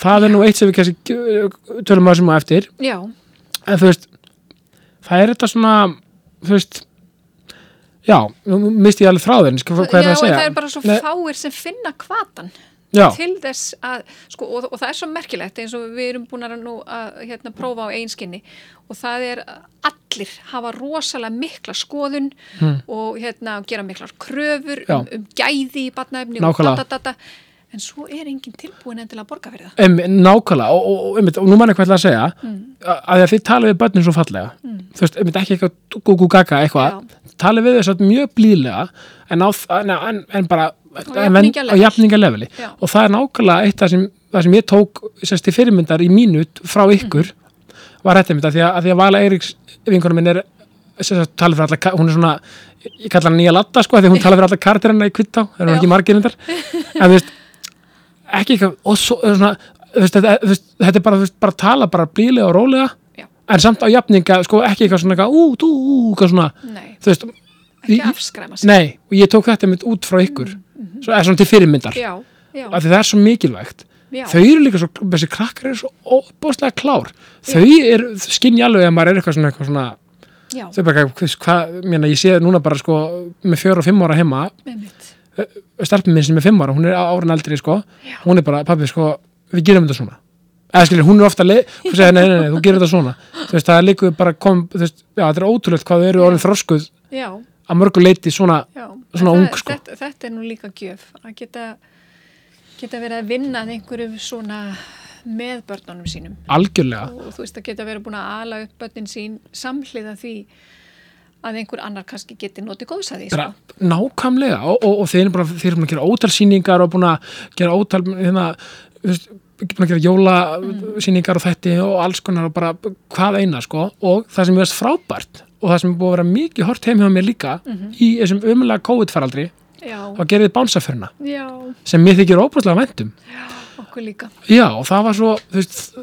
A: það er nú eitt sem við kannski uh, tölum að sem á eftir
B: já,
A: en þú veist það er þetta svona þú veist já, nú misti ég alveg þráðin hvað er það
B: já, en
A: að segja
B: það er bara svo
A: Nei,
B: fáir sem finna hvatan
A: já,
B: til þess að sko, og, og það er svo merkilegt eins og við erum búin að nú að hérna, prófa á einskinni og það er að allir hafa rosalega mikla skoðun og hérna, gera miklar kröfur um,
A: Hmm. Já.
B: um gæði í batnaefni og
A: Nákvæmlega.
B: data, data, en svo er enginn tilbúin endilega að borga fyrir það
A: Em, nákvæmlega og, og, og, einmitt, og nú mann ég hvað ég ætla að segja mm. að því að þið tala við börnin svo fallega þú veist, einmitt, ekki eitthvað gúgú gaga eitthvað, tala við þess að mjög blíðlega en, á, þ- en, en, en bara en ven-
B: jafningjaleveli.
A: á jafningaleveli
B: Já.
A: og það er nákvæmlega eitt það sem, það sem ég tók sérst í fyrirmyndar í mínut frá ykkur
B: Mhm.
A: var þetta mitt að því að, að því að Vala Eiríks vinkonum minn er sérst, tala fyrir alla, ka- hún er svona ég kalla hann nýja latta sko, af því að hún tala fyrir alla kartirina í kvittá, það eru nú
B: Já.
A: ekki margir reyndar. en þú veist ekki eitthvað og svo, eða svona, þú veist, þetta, þú veist, þetta er bara, þú veist, bara tala bara blíðlega og rólega
B: Já.
A: en samt á jafninga, sko, ekki eitthvað svona eitthvað, ú, tú, ú, eitthvað svona
B: Nei,
A: þú veist,
B: ekki Mm,
A: Í-
B: afskræma sig
A: nei, og ég tók þetta mitt út frá ykkur
B: mhm.
A: svo, eða svona til fyrirmyndar
B: Já, já,
A: af því það er svo mikilvægt
B: já,
A: þau eru líka svo, þessi krakkar eru svo óbúslega klár, þau eru skinn alveg að maður er eitthvað svona, eitthvað svona
B: já,
A: þau bara, hvað, hvað, mérna, ég sé núna bara sko, með fjör og fimm ára heima
B: einmitt.
A: stelpum minn sem er fimm ára, hún er á árun aldrei sko, hún er bara, pappi sko við gerum þetta svona, eða skilur, hún er ofta leið, hún segir, nei, nei, nei, þú gerir þetta svona þú veist, það er líka bara kom, þú veist já, þetta er ótrúlegt hvað þau eru orðin þroskuð
B: já,
A: að mörgu leiti svona,
B: já
A: Svona
B: En það-
A: ung, sko.
B: þetta, þetta er nú líka gjöf að geta, geta verið að vinna að einhverjum svona með börnunum sínum
A: algjörlega
B: og þú veist að geta verið búin að ala upp börnin sín samhliða því að einhver annar kannski geti notið góðs að því
A: bara
B: sko.
A: nákvæmlega og, og, og þeir eru bara, þeir eru búin að gera ótalsýningar og búin að gera ótal hérna, þú veist, búin að gera jólasýningar og þetta og alls konar og bara hvað eina sko og það sem ég veist frábært og það sem er búið að vera mikið hort heim hjá mér líka í þessum umlega COVID-faraldri
B: Já,
A: þá gerði þið bánsaförna
B: já,
A: sem mér þykir óbúslega vendum
B: okkur líka.
A: já og það var svo þú veist,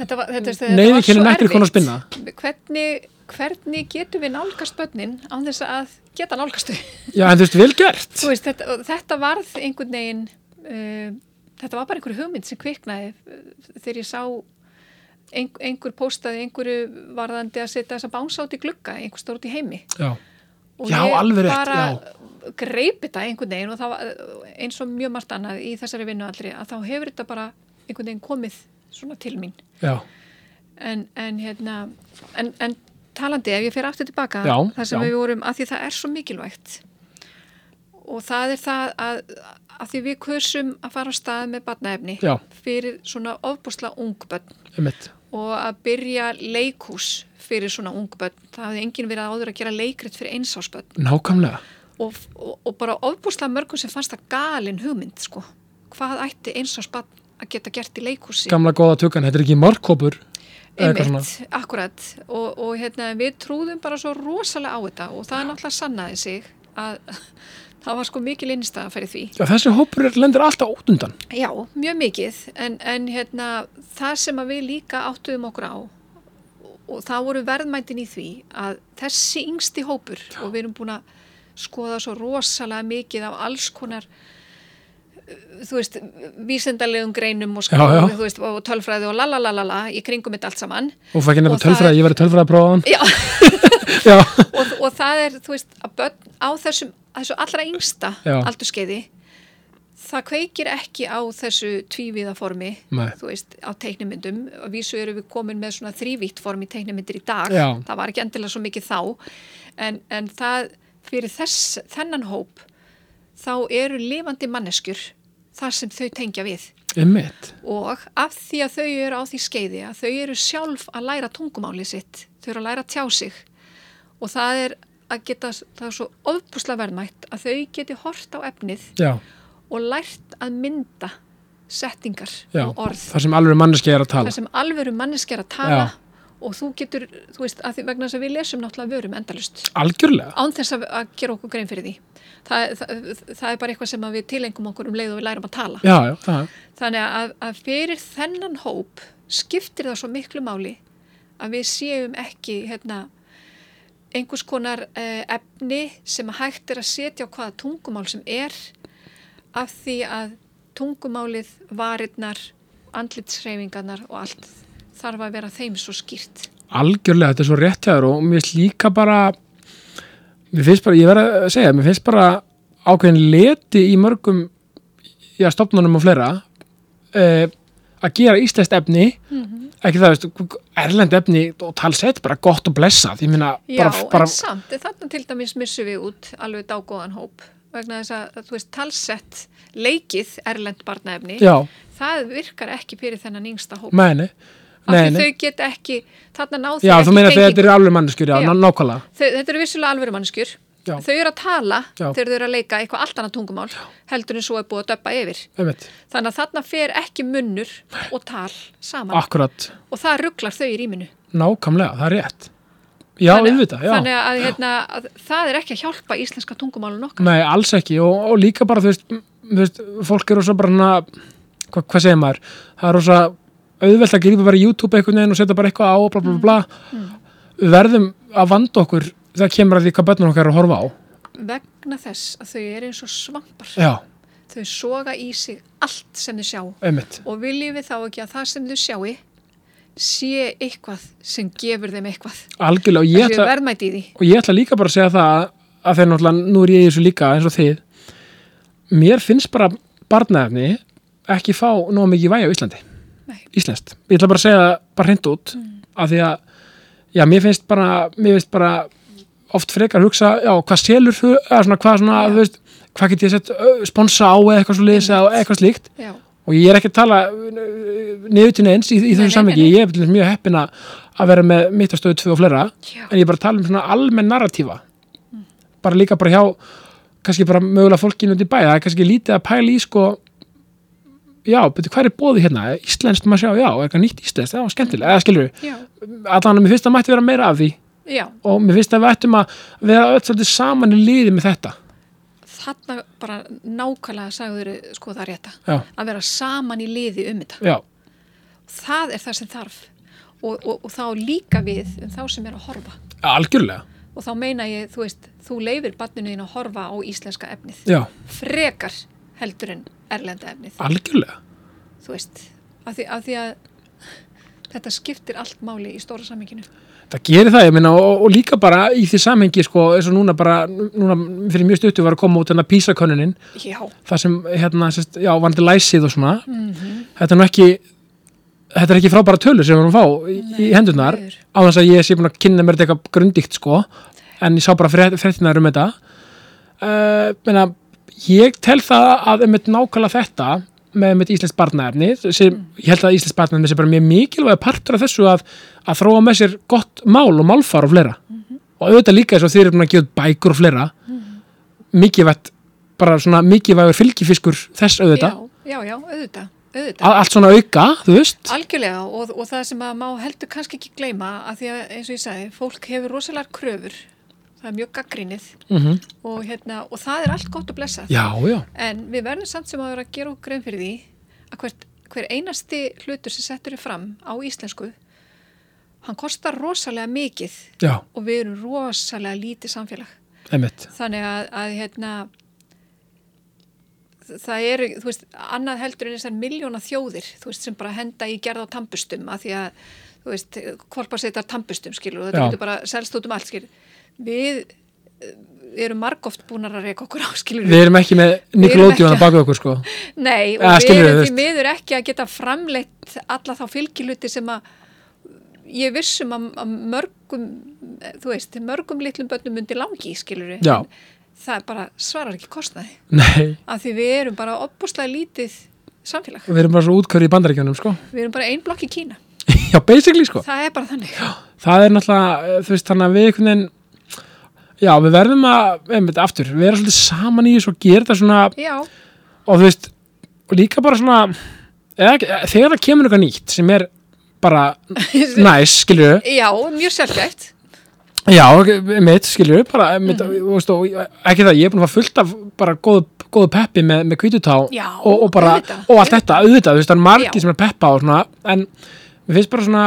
B: Þetta var, þetta, þetta
A: neyði
B: var
A: ekki
B: svo
A: nekkri konar
B: erfitt.
A: spinna
B: Hvernig, hvernig getum við nálgast börnin án þess að geta nálgast þau?
A: já en þú veist vel gert
B: Þú veist, þetta, og þetta varð einhvern veginn, uh, þetta var bara einhver hugmynd sem kviknaði uh, þegar ég sá ein, einhver póstaði einhverju varðandi að setja þessa bánsa út í glugga, einhver stórt í heimi.
A: já,
B: og
A: Já,
B: ég
A: alveg rétt,
B: bara greip þetta einhvern veginn og það var uh, eins og mjög margt annað í þessari vinnu allri að þá hefur þetta bara einhvern veginn komið svona til mín
A: já,
B: en, en hérna en, en talandi ef ég fer aftur tilbaka
A: Já,
B: þar sem
A: já.
B: við vorum að því það er svo mikilvægt og það er það að, að því við kursum að fara á stað með batnaefni
A: Já.
B: fyrir svona ofbúsla ungbönn
A: einmitt
B: og að byrja leikhús fyrir svona ungbönn það hafði enginn verið áður að gera leikrit fyrir einsásbönn
A: nákvæmlega
B: og, og, og bara ofbúslega mörgum sem fannst það galin hugmynd sko. hvað ætti eins og spann að geta gert í leikhúsi
A: gamla góða tökann, þetta er ekki markkópur eða eitthvað
B: einmitt, akkurat og, og hérna, við trúðum bara svo rosalega á þetta og það er náttúrulega sannaði sig að það var sko mikil innstæða fyrir því
A: Já, þessi hópur er- lendir alltaf út undan.
B: Já, mjög mikið en, en hérna, það sem að við líka áttuðum okkur á og það voru verðmændin í því að þessi yngsti hópur og við erum búin að skoða svo rosalega mikið af alls konar uh, þú veist, vísendalegum greinum og,
A: Já, já.
B: þú veist, og tölfræði og lalalalala í kringum þetta allt saman
A: Og það ekki
B: Og
A: nefnir
B: það er-
A: tölfræði, ég verið tölfræði að prófa hann.
B: Já,
A: Já,
B: og, og það er, þú veist, að börn á þessum, þessu allra yngsta
A: Já.
B: aldurskeiði það kveikir ekki á þessu tvíviða formi,
A: Nei.
B: þú veist, á teiknumyndum og vísu eru við komin með svona þrívítt form í teiknumyndir í dag,
A: Já.
B: það var ekki endilega svo mikið þá, en, en það fyrir þess, þennan hóp þá eru lifandi manneskjur þar sem þau tengja við
A: Einmitt.
B: og af því að þau eru á því skeiði að þau eru sjálf að læra tungumálið sitt þau eru að læra að tjá sig og það er að geta það er svo ofbúslega verðmætt að þau geti hort á efnið
A: Já,
B: og lært að mynda settingar
A: já.
B: og orð
A: Það sem alveg manneski er að tala.
B: þar sem alvöru manneskja er að tala og þú getur, þú veist, að því vegna þess að við lesum náttúrulega vörum endalust
A: Algjörlega.
B: án þess að, að gera okkur grein fyrir því það, það, það er bara eitthvað sem að við tilengum okkur um leið og við lærum að tala
A: Já, já, það.
B: Þannig að, að fyrir þennan hóp skiptir það svo miklu máli að við séum ekki hérna, einhvers konar uh, efni sem að hægt er að setja á hvaða tungumál sem er af því að tungumálið, varirnar, andlitsreifingarnar og allt þarf að vera þeim svo skýrt.
A: Algjörlega, þetta er svo rétt hjá þér og mér finnst líka bara, mér finnst bara, ég verð að segja, mér finnst bara ákveðin leti í mörgum, já, stopnunum og fleira, eh, að gera íslenskt efni,
B: Mhm.
A: ekki það, veist, erlend efni og talsett bara gott og blessað, ég meina,
B: Já,
A: bara, bara,
B: en samt, þannig til dæmis missum við út alveg dágóðan hóp vegna þess að, þú veist, talsett leikið erlend barnaefni
A: já,
B: það virkar ekki fyrir þennan yngsta hóp
A: meni,
B: af
A: nei,
B: því
A: nei,
B: þau get ekki, þarna náðu þau
A: já,
B: ekki
A: þú meina þegar
B: tengingu.
A: þetta er alveg manneskjur, já,
B: Já.
A: já. nákvæmlega,
B: Þau- þetta eru vissulega alvöru mannskjur
A: Já.
B: þau eru að tala
A: Já.
B: þegar þau eru að leika eitthvað allt annað tungumál heldur en svo er búið að döppa yfir
A: einmitt,
B: þannig að þarna fer ekki munnur og tal
A: Ah.
B: saman
A: akkurat,
B: og það rugglar þau í rýminu
A: nákvæmlega, það er rétt, já, auðvitað, já.
B: þannig að, hérna, að það er ekki að hjálpa íslenska tungumálun okkar
A: Nei, alls ekki og, og líka bara þú veist, m- þú veist fólk eru svo bara hana, hva, hvað segir maður, það er rosa auðvelt að grípa bara í YouTube einhvern veginn og setja bara eitthvað á og bla bla bla Mm. við verðum að vanda okkur þegar kemur að því hvað börnum okkar eru að horfa á
B: vegna þess að þau eru eins og svampar
A: Já,
B: þau soga í sig allt sem þau sjá
A: einmitt,
B: og viljum við þá ekki að það sem þau sjáu sé eitthvað sem gefur þeim eitthvað
A: algjörlega og ég,
B: þessi
A: ætla,
B: verðmæti í því
A: og ég ætla líka bara að segja það að- að þegar náttúrulega nú er ég í þessu líka eins og þið mér finnst bara barnaefni ekki fá nóg mikið vægi á Íslandi
B: Nei. Mm.
A: íslenskt. Ég ætla bara að segja það bara hreint út af því að já, mér finnst bara, mér finnst bara oft frekar hugsa, já, hvað selur þú, eða svona, hvað svona,
B: Já.
A: þú veist hvað get ég sett ö, sponsa á eða eitthvað svo liðs eða eitthvað slíkt
B: Já,
A: og ég er ekki að tala ö, niður til neins í, í
B: Nei,
A: þessu
B: nei,
A: samviki,
B: nei,
A: ég er til dæmis mjög heppin að að vera með mitt á stöðu tvö og fleira
B: Já.
A: en ég er bara að tala um svona almenn narratífa bara líka bara hjá kannski bara mögulega fólkinu út í bæja það er kannski lítið að pæla í sko já, betur hvað er bóði hérna íslenskt maður sjá, já, er eitthvað nýtt íslenskt það var skemmtilega, eða skilur við,
B: já,
A: allan að mér finnst að mætti vera meira af því
B: já
A: og mér finnst að við ættum að vera öll svolítið saman í liði með þetta
B: þarna bara nákvæmlega sagður sko það rétta
A: já,
B: að vera saman í liði um þetta
A: já,
B: það er það sem þarf og, og, og þá líka við um þá sem er að horfa
A: algjörlega
B: og þá meina ég, þú veist, þú leifir barninu þín að horfa á íslenska efnið
A: já,
B: frekar heldur en erlenda efnið
A: algjörlega
B: þú veist, af því, af því að þetta skiptir allt máli í stóra samminginu
A: Það gerir það, ég meina, og, og líka bara í því samhengi, sko, eins og núna bara, núna fyrir mjög stuttu var að koma út hérna písakönnunin,
B: já,
A: það sem, hérna, sérst, já, vandi læsið og svona, þetta er nú ekki, þetta er ekki frábæra tölur sem við erum að fá í, í hendurnar,
B: miður.
A: á þess að ég sé búin að kynna mér þetta eitthvað grundíkt, sko, en ég sá bara frétt- fréttirnar um þetta. Uh, meina, ég tel það að einmitt nákvæmlega þetta með einmitt íslenskt barnaefni, sem, ég held að íslenskt barnaefni sé bara mjög mikilvæg partur af þessu að, að þróa með sér gott mál og málfar og fleira. Og auðvitað líka eins og þeir eru búin að gefa út bækur og fleira, mikilvægt bara svona mikilvægur fylgifiskur þess
B: já,
A: auðvitað,
B: já, já, auðvitað, auðvitað.
A: að, allt svona auka þú veist,
B: Algjörlega og, og það sem að má heldur kannski ekki gleyma að því að eins og ég sagði, fólk hefur rosalega kröfur, það er mjög gaggrinnið
A: Mhm.
B: og, hérna, og það er allt gott og blessað.
A: já, já,
B: En við verðum samt sem að vera að gera okkur grein fyrir því að hvert, hver einasti hlutur sem settur er fram á íslensku, hann kostar rosalega mikið
A: já,
B: og við erum rosalega lítið samfélag.
A: einmitt
B: Þannig að, að hérna, það eru, þú veist, annað heldur en þessar miljóna þjóðir, þú veist, sem bara henda í gerða á tampustum að því að, þú veist, kvolpa setar tampustum, skilur, og þetta
A: Já.
B: getur bara selst út um allt, skilur. Við eru margóft búnar að reyka okkur áskilur
A: Við erum ekki með Nikolódion að
B: ekki
A: baka okkur sko.
B: Nei,
A: Eða,
B: og við
A: skilurðu,
B: erum
A: þú
B: því
A: veist.
B: miður ekki að geta framleitt alla þá fylgiluti sem að ég er viss um að, að mörgum eh, þú veist, mörgum litlum börnum undir langi, skilur við
A: Já.
B: það er bara svarar ekki kostnaði
A: Nei,
B: af því við erum bara opbúslega lítið samfélag,
A: við erum bara svo útkörði í bandaríkjunum sko.
B: við erum bara ein blokk í Kína
A: Já, basically sko.
B: það er bara þannig
A: það er náttúrulega, eh, þú veist, þannig að við einhvern veginn Já, við verðum að, einmitt, aftur, vera svolítið saman í þessu og gera þetta svona,
B: Já,
A: og þú veist, og líka bara svona, eða, ekki- eh, þegar það kemur eitthvað nýtt sem er bara næs, skilju,
B: já mjög sjálfgætt
A: já, mitt, skilju, bara, mitt,
B: Mhm.
A: mm. veist, og, ekki það, ég er búin að fá fullt af bara góðu, góðu peppi með, með kvítutá
B: Já,
A: og, og bara,
B: auðvitað,
A: og allt þetta, auðvitað, þú veist, það er
B: Já.
A: margir sem er að peppa og svona, en mér finnst bara svona,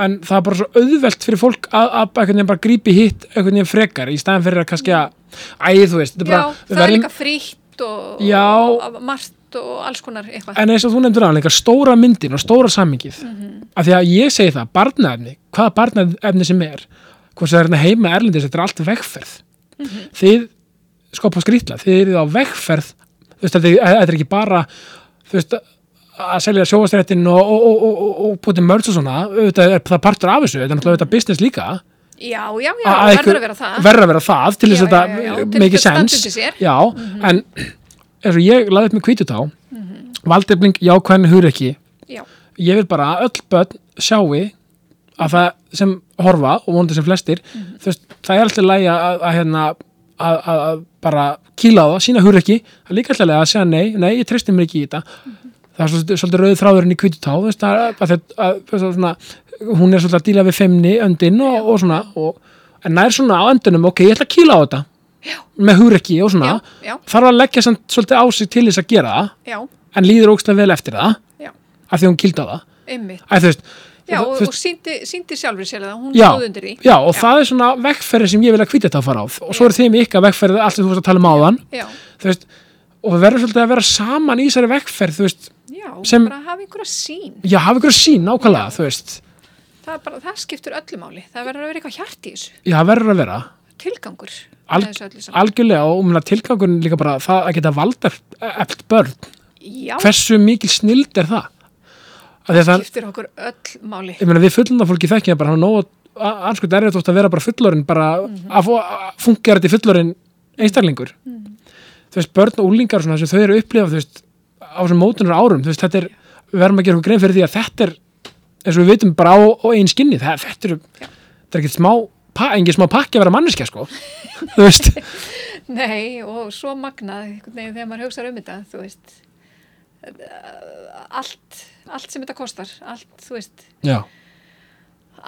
A: en það er bara svo auðvelt fyrir fólk að, að einhvern veginn bara grípi hitt einhvern veginn frekar í staðan fyrir að kannski að, æði, þú veist, þetta er
B: Já,
A: bara, við
B: það er
A: verðum-
B: líka frítt og,
A: Já.
B: og margt og alls konar eitthvað
A: en eins og þú nefndur aðan líka stóra myndin og stóra sammingið af því að ég segi það, barnaefni hvaða barnaefni sem er hvort sem það er hérna heima erlendis, þetta er allt vegferð þið, sko på skrýtla þið eru á vegferð þú veist, þetta er, þetta er ekki bara þú veist, að selja sjóastrættin og, og, og, og, og, og púti mörg og svona auðvitað er það partur af þessu, þetta er náttúrulega auðvitað business líka
B: Já, já, já,
A: að- að einhver-
B: verður að vera það
A: verður að vera það til þess
B: Já,
A: að
B: já, já, já.
A: þetta
B: Til
A: make
B: þess að þetta standi
A: sense
B: undir sér. Mhm.
A: já, en eins og ég laði upp með kvítutá
B: Mhm.
A: valdefling jákvæðin hugur ekki
B: Já,
A: ég vil bara að öll börn sjáu að það sem horfa og vonandi sem flestir
B: Mhm.
A: þú veist, það er alltaf lægi að, að, hérna, að, að, að bara kýla á það, sína hugur ekki það er líka alltaf lægi að segja nei, nei, ég treysti mér ekki í þetta
B: Mhm.
A: það er svolítið, svolítið rauðið þráðurinn í kvítutá þú veist, að, að, að, að, að svona, hún er svolítið að díla við femni öndin og, og svona og, en nær svona á öndunum, ok, ég ætla að kýla á þetta
B: Já.
A: með hugur ekki og svona
B: já, já,
A: þarf að leggja samt svolítið á sig til þess að gera það
B: já,
A: en líður ógstlega vel eftir það
B: já,
A: af því hún kýldi á það
B: einmitt.
A: Æ, þú veist,
B: Já,
A: þú-
B: og,
A: þú
B: og síndi, síndi sjálfur sér það, hún
A: Já.
B: stóð undir því.
A: Já, og það er svona vegferði sem ég vil að hvita þetta að fara á og svo er þeim ykkar vegferði allt sem þú veist að tala um áðan
B: Já,
A: þú veist, og við verðum svolítið að vera saman í þessari vegferð, þú veist,
B: já,
A: Sem-
B: bara hafa einhverja sín.
A: já, hafa ykkur sín nákvæmlega, þú veist,
B: Það, er bara, það skiptur öllu máli, það verður að vera eitthvað hjart í þessu,
A: já, það verður að vera
B: tilgangur.
A: Al-
B: með þessu öllu saman.
A: algjörlega og um, tilgangurinn líka bara það að geta valda eftir börn,
B: Já,
A: hversu mikil snild er það? Af því að það,
B: skiptur okkur öll máli.
A: ég meina, við fullunda fólki þekkja bara hann nóg að anskut errið þótt að vera bara fullorinn bara að, fó- að fungera þetta í fullorinn einstaklingur þú veist, börn og úlingar og svona, þessu, þau eru að upplifa þú veist, á þessum mótunar árum þú veist, þetta er, við verðum að gera okkur grein fyrir því að þetta er eins og við veitum bara á, á einn skinni það, þetta er, þetta er ekkert smá pa, engin smá pakki að vera manneskja sko þú veist,
B: Nei, og svo magnað, einhvern veginn, þegar maður hugsaður um þetta, þú veist, allt, allt sem þetta kostar, allt, þú veist,
A: já,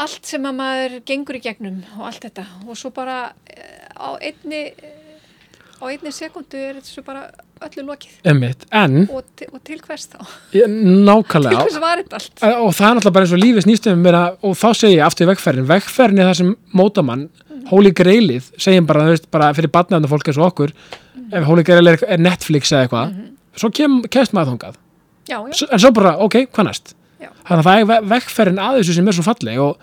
B: allt sem að maður gengur í gegnum og allt þetta og svo bara eh, á einni eh, á einni sekundu er þessu bara öllu lokið
A: emmitt en,
B: og, til- og til hvers þá
A: ég-
B: til
A: nákvæmlega
B: hvers var þetta allt
A: Eh, og það er náttúrulega bara eins og lífið snýstum meira, og þá segi ég aftur í vegferðin vegferðin er það sem mótamann Holy Grailið, segjum bara, þú veist, bara fyrir batnaðan fólk eins og okkur ef Holy Grail er, er Netflix eða eitthvað
B: Mhm.
A: svo kem, kemst maður þangað
B: já, já,
A: S en svo bara, ok, hvað næst
B: Já.
A: þannig að það er ve- vegferðin að þessu sem er svo falleg og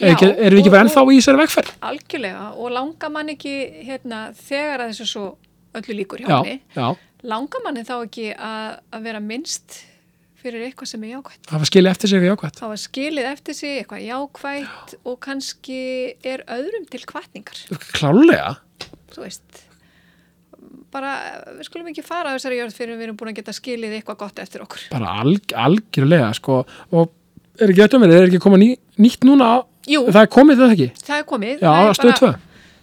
A: er
B: Já,
A: ekki, erum við ekki
B: og-
A: bara ennþá í þessari vegferð
B: algjörlega og langar mann ekki hérna, þegar að þessu svo öllu líkur hjá
A: já,
B: manni
A: já,
B: langar manni þá ekki að, að vera minnst fyrir eitthvað sem er jákvæmt
A: það var skilja eftir sig við jákvætt
B: þá er skilið eftir sig eitthvað jákvæmt og kannski er öðrum til kvatningar
A: klálega,
B: þú veist bara, við skulum ekki fara á þessari jörð fyrir við erum búin að geta skilið eitthvað gott eftir okkur
A: bara alg, algjörlega sko, og er ekki þetta mér er ekki koma ný, nýtt núna á-
B: Jú, það,
A: það er komið það ekki,
B: er komið
A: já,
B: það, er
A: stöð 2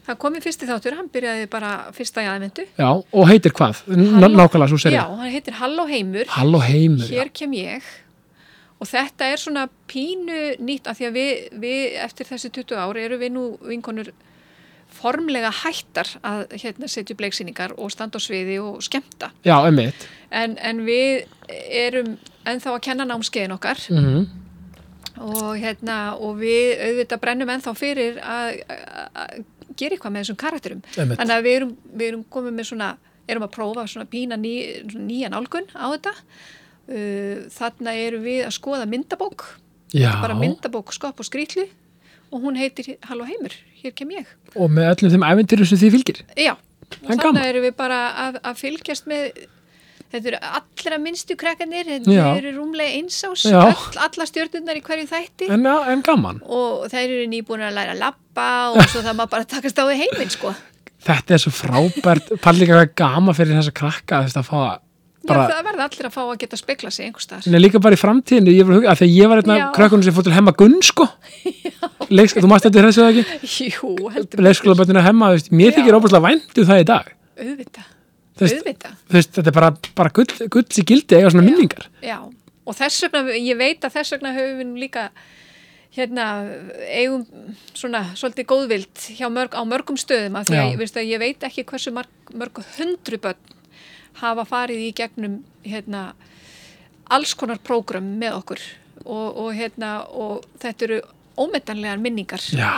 B: það er komið fyrsti þáttur, hann byrjaði bara fyrsta í aðvendu
A: Já, og heitir hvað? N-
B: Halló-
A: Nákvæmlega svo serið.
B: Já, hann heitir Halló heimur,
A: Halló heimur.
B: hér kem ég og þetta er svona pínu nýtt af því að við, við eftir þessi 20 ári eru við nú vinkonur formlega hættar að hérna, setja upp leiksýningar og standa á sviði og skemmta
A: Já, já emmitt.
B: en, en við erum ennþá að kenna námskeiðin okkar
A: Mm
B: og, hérna, og við auðvitað brennum ennþá fyrir að að- að gera eitthvað með þessum karakterum
A: Einmitt.
B: þannig að við erum, við erum komið með svona erum að prófa svona pína ný, svona nýja nálgun á þetta uh, þannig erum við að skoða myndabók
A: Já,
B: bara myndabók skopp og skrýtlu og hún heitir Halló heimur, hér kem ég.
A: og með öllum þeim æventyrum sem því fylgir
B: Já,
A: Það er gaman.
B: og þannig erum við bara að, að fylgjast með þetta eru allra minnstu krakkanir
A: Já.
B: þetta eru rúmlega einsás
A: Já.
B: all, alla stjórnurnar í hverju þætti
A: en, já, en gaman,
B: og þær eru nýbúin að læra að lappa og svo það maður bara að takast á við heiminn sko.
A: þetta er svo frábært pallíka hvað er gaman fyrir þessa krakka þess að fá að bara,
B: Já, það verða allir að fá að geta spekla sig einhvers staðar.
A: Nei, líka bara í framtíðinu, ég var að hugga, af því að ég var einn
B: Já.
A: af krökkunum sem fór til hemma gunn, sko. Leiksk, þú mást eftir þessu það ekki?
B: Jú, heldur betur.
A: Leikskólaböndinu hemma, þú veist, mér þykir
B: Já.
A: óbúslega væntu það í dag.
B: auðvitað,
A: Þú veist,
B: auðvitað.
A: þú veist, þetta er bara, bara gull, gull í gildi eiga svona minningar.
B: Já, og þess vegna, ég veit að þess vegna höfum við nú líka hérna, eigum svona svolítið góðvild hjá mörg, á mörgum stöðum af því að,
A: Já.
B: veistu, að ég veit ekki hversu marg, mörg hundru börn hafa farið í gegnum hérna, alls konar prógram með okkur og, og, hérna, og þetta eru ómetanlegar minningar
A: Já,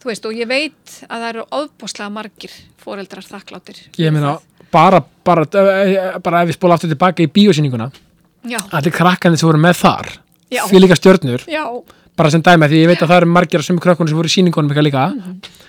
B: þú veist og ég veit að það eru ofbúslega margir foreldrar þakkláttir
A: ég meina, bara, bara, eh, bara ef við spóla aftur tilbaka í bíósýninguna,
B: já,
A: allir krakkanir sem voru með þar,
B: Já.
A: fyrir líka stjörnur,
B: já,
A: bara sem dæmi, af því ég veit að það eru margir af sömu krökkunum sem voru í sýningunum eitthvað líka.
B: Mhm.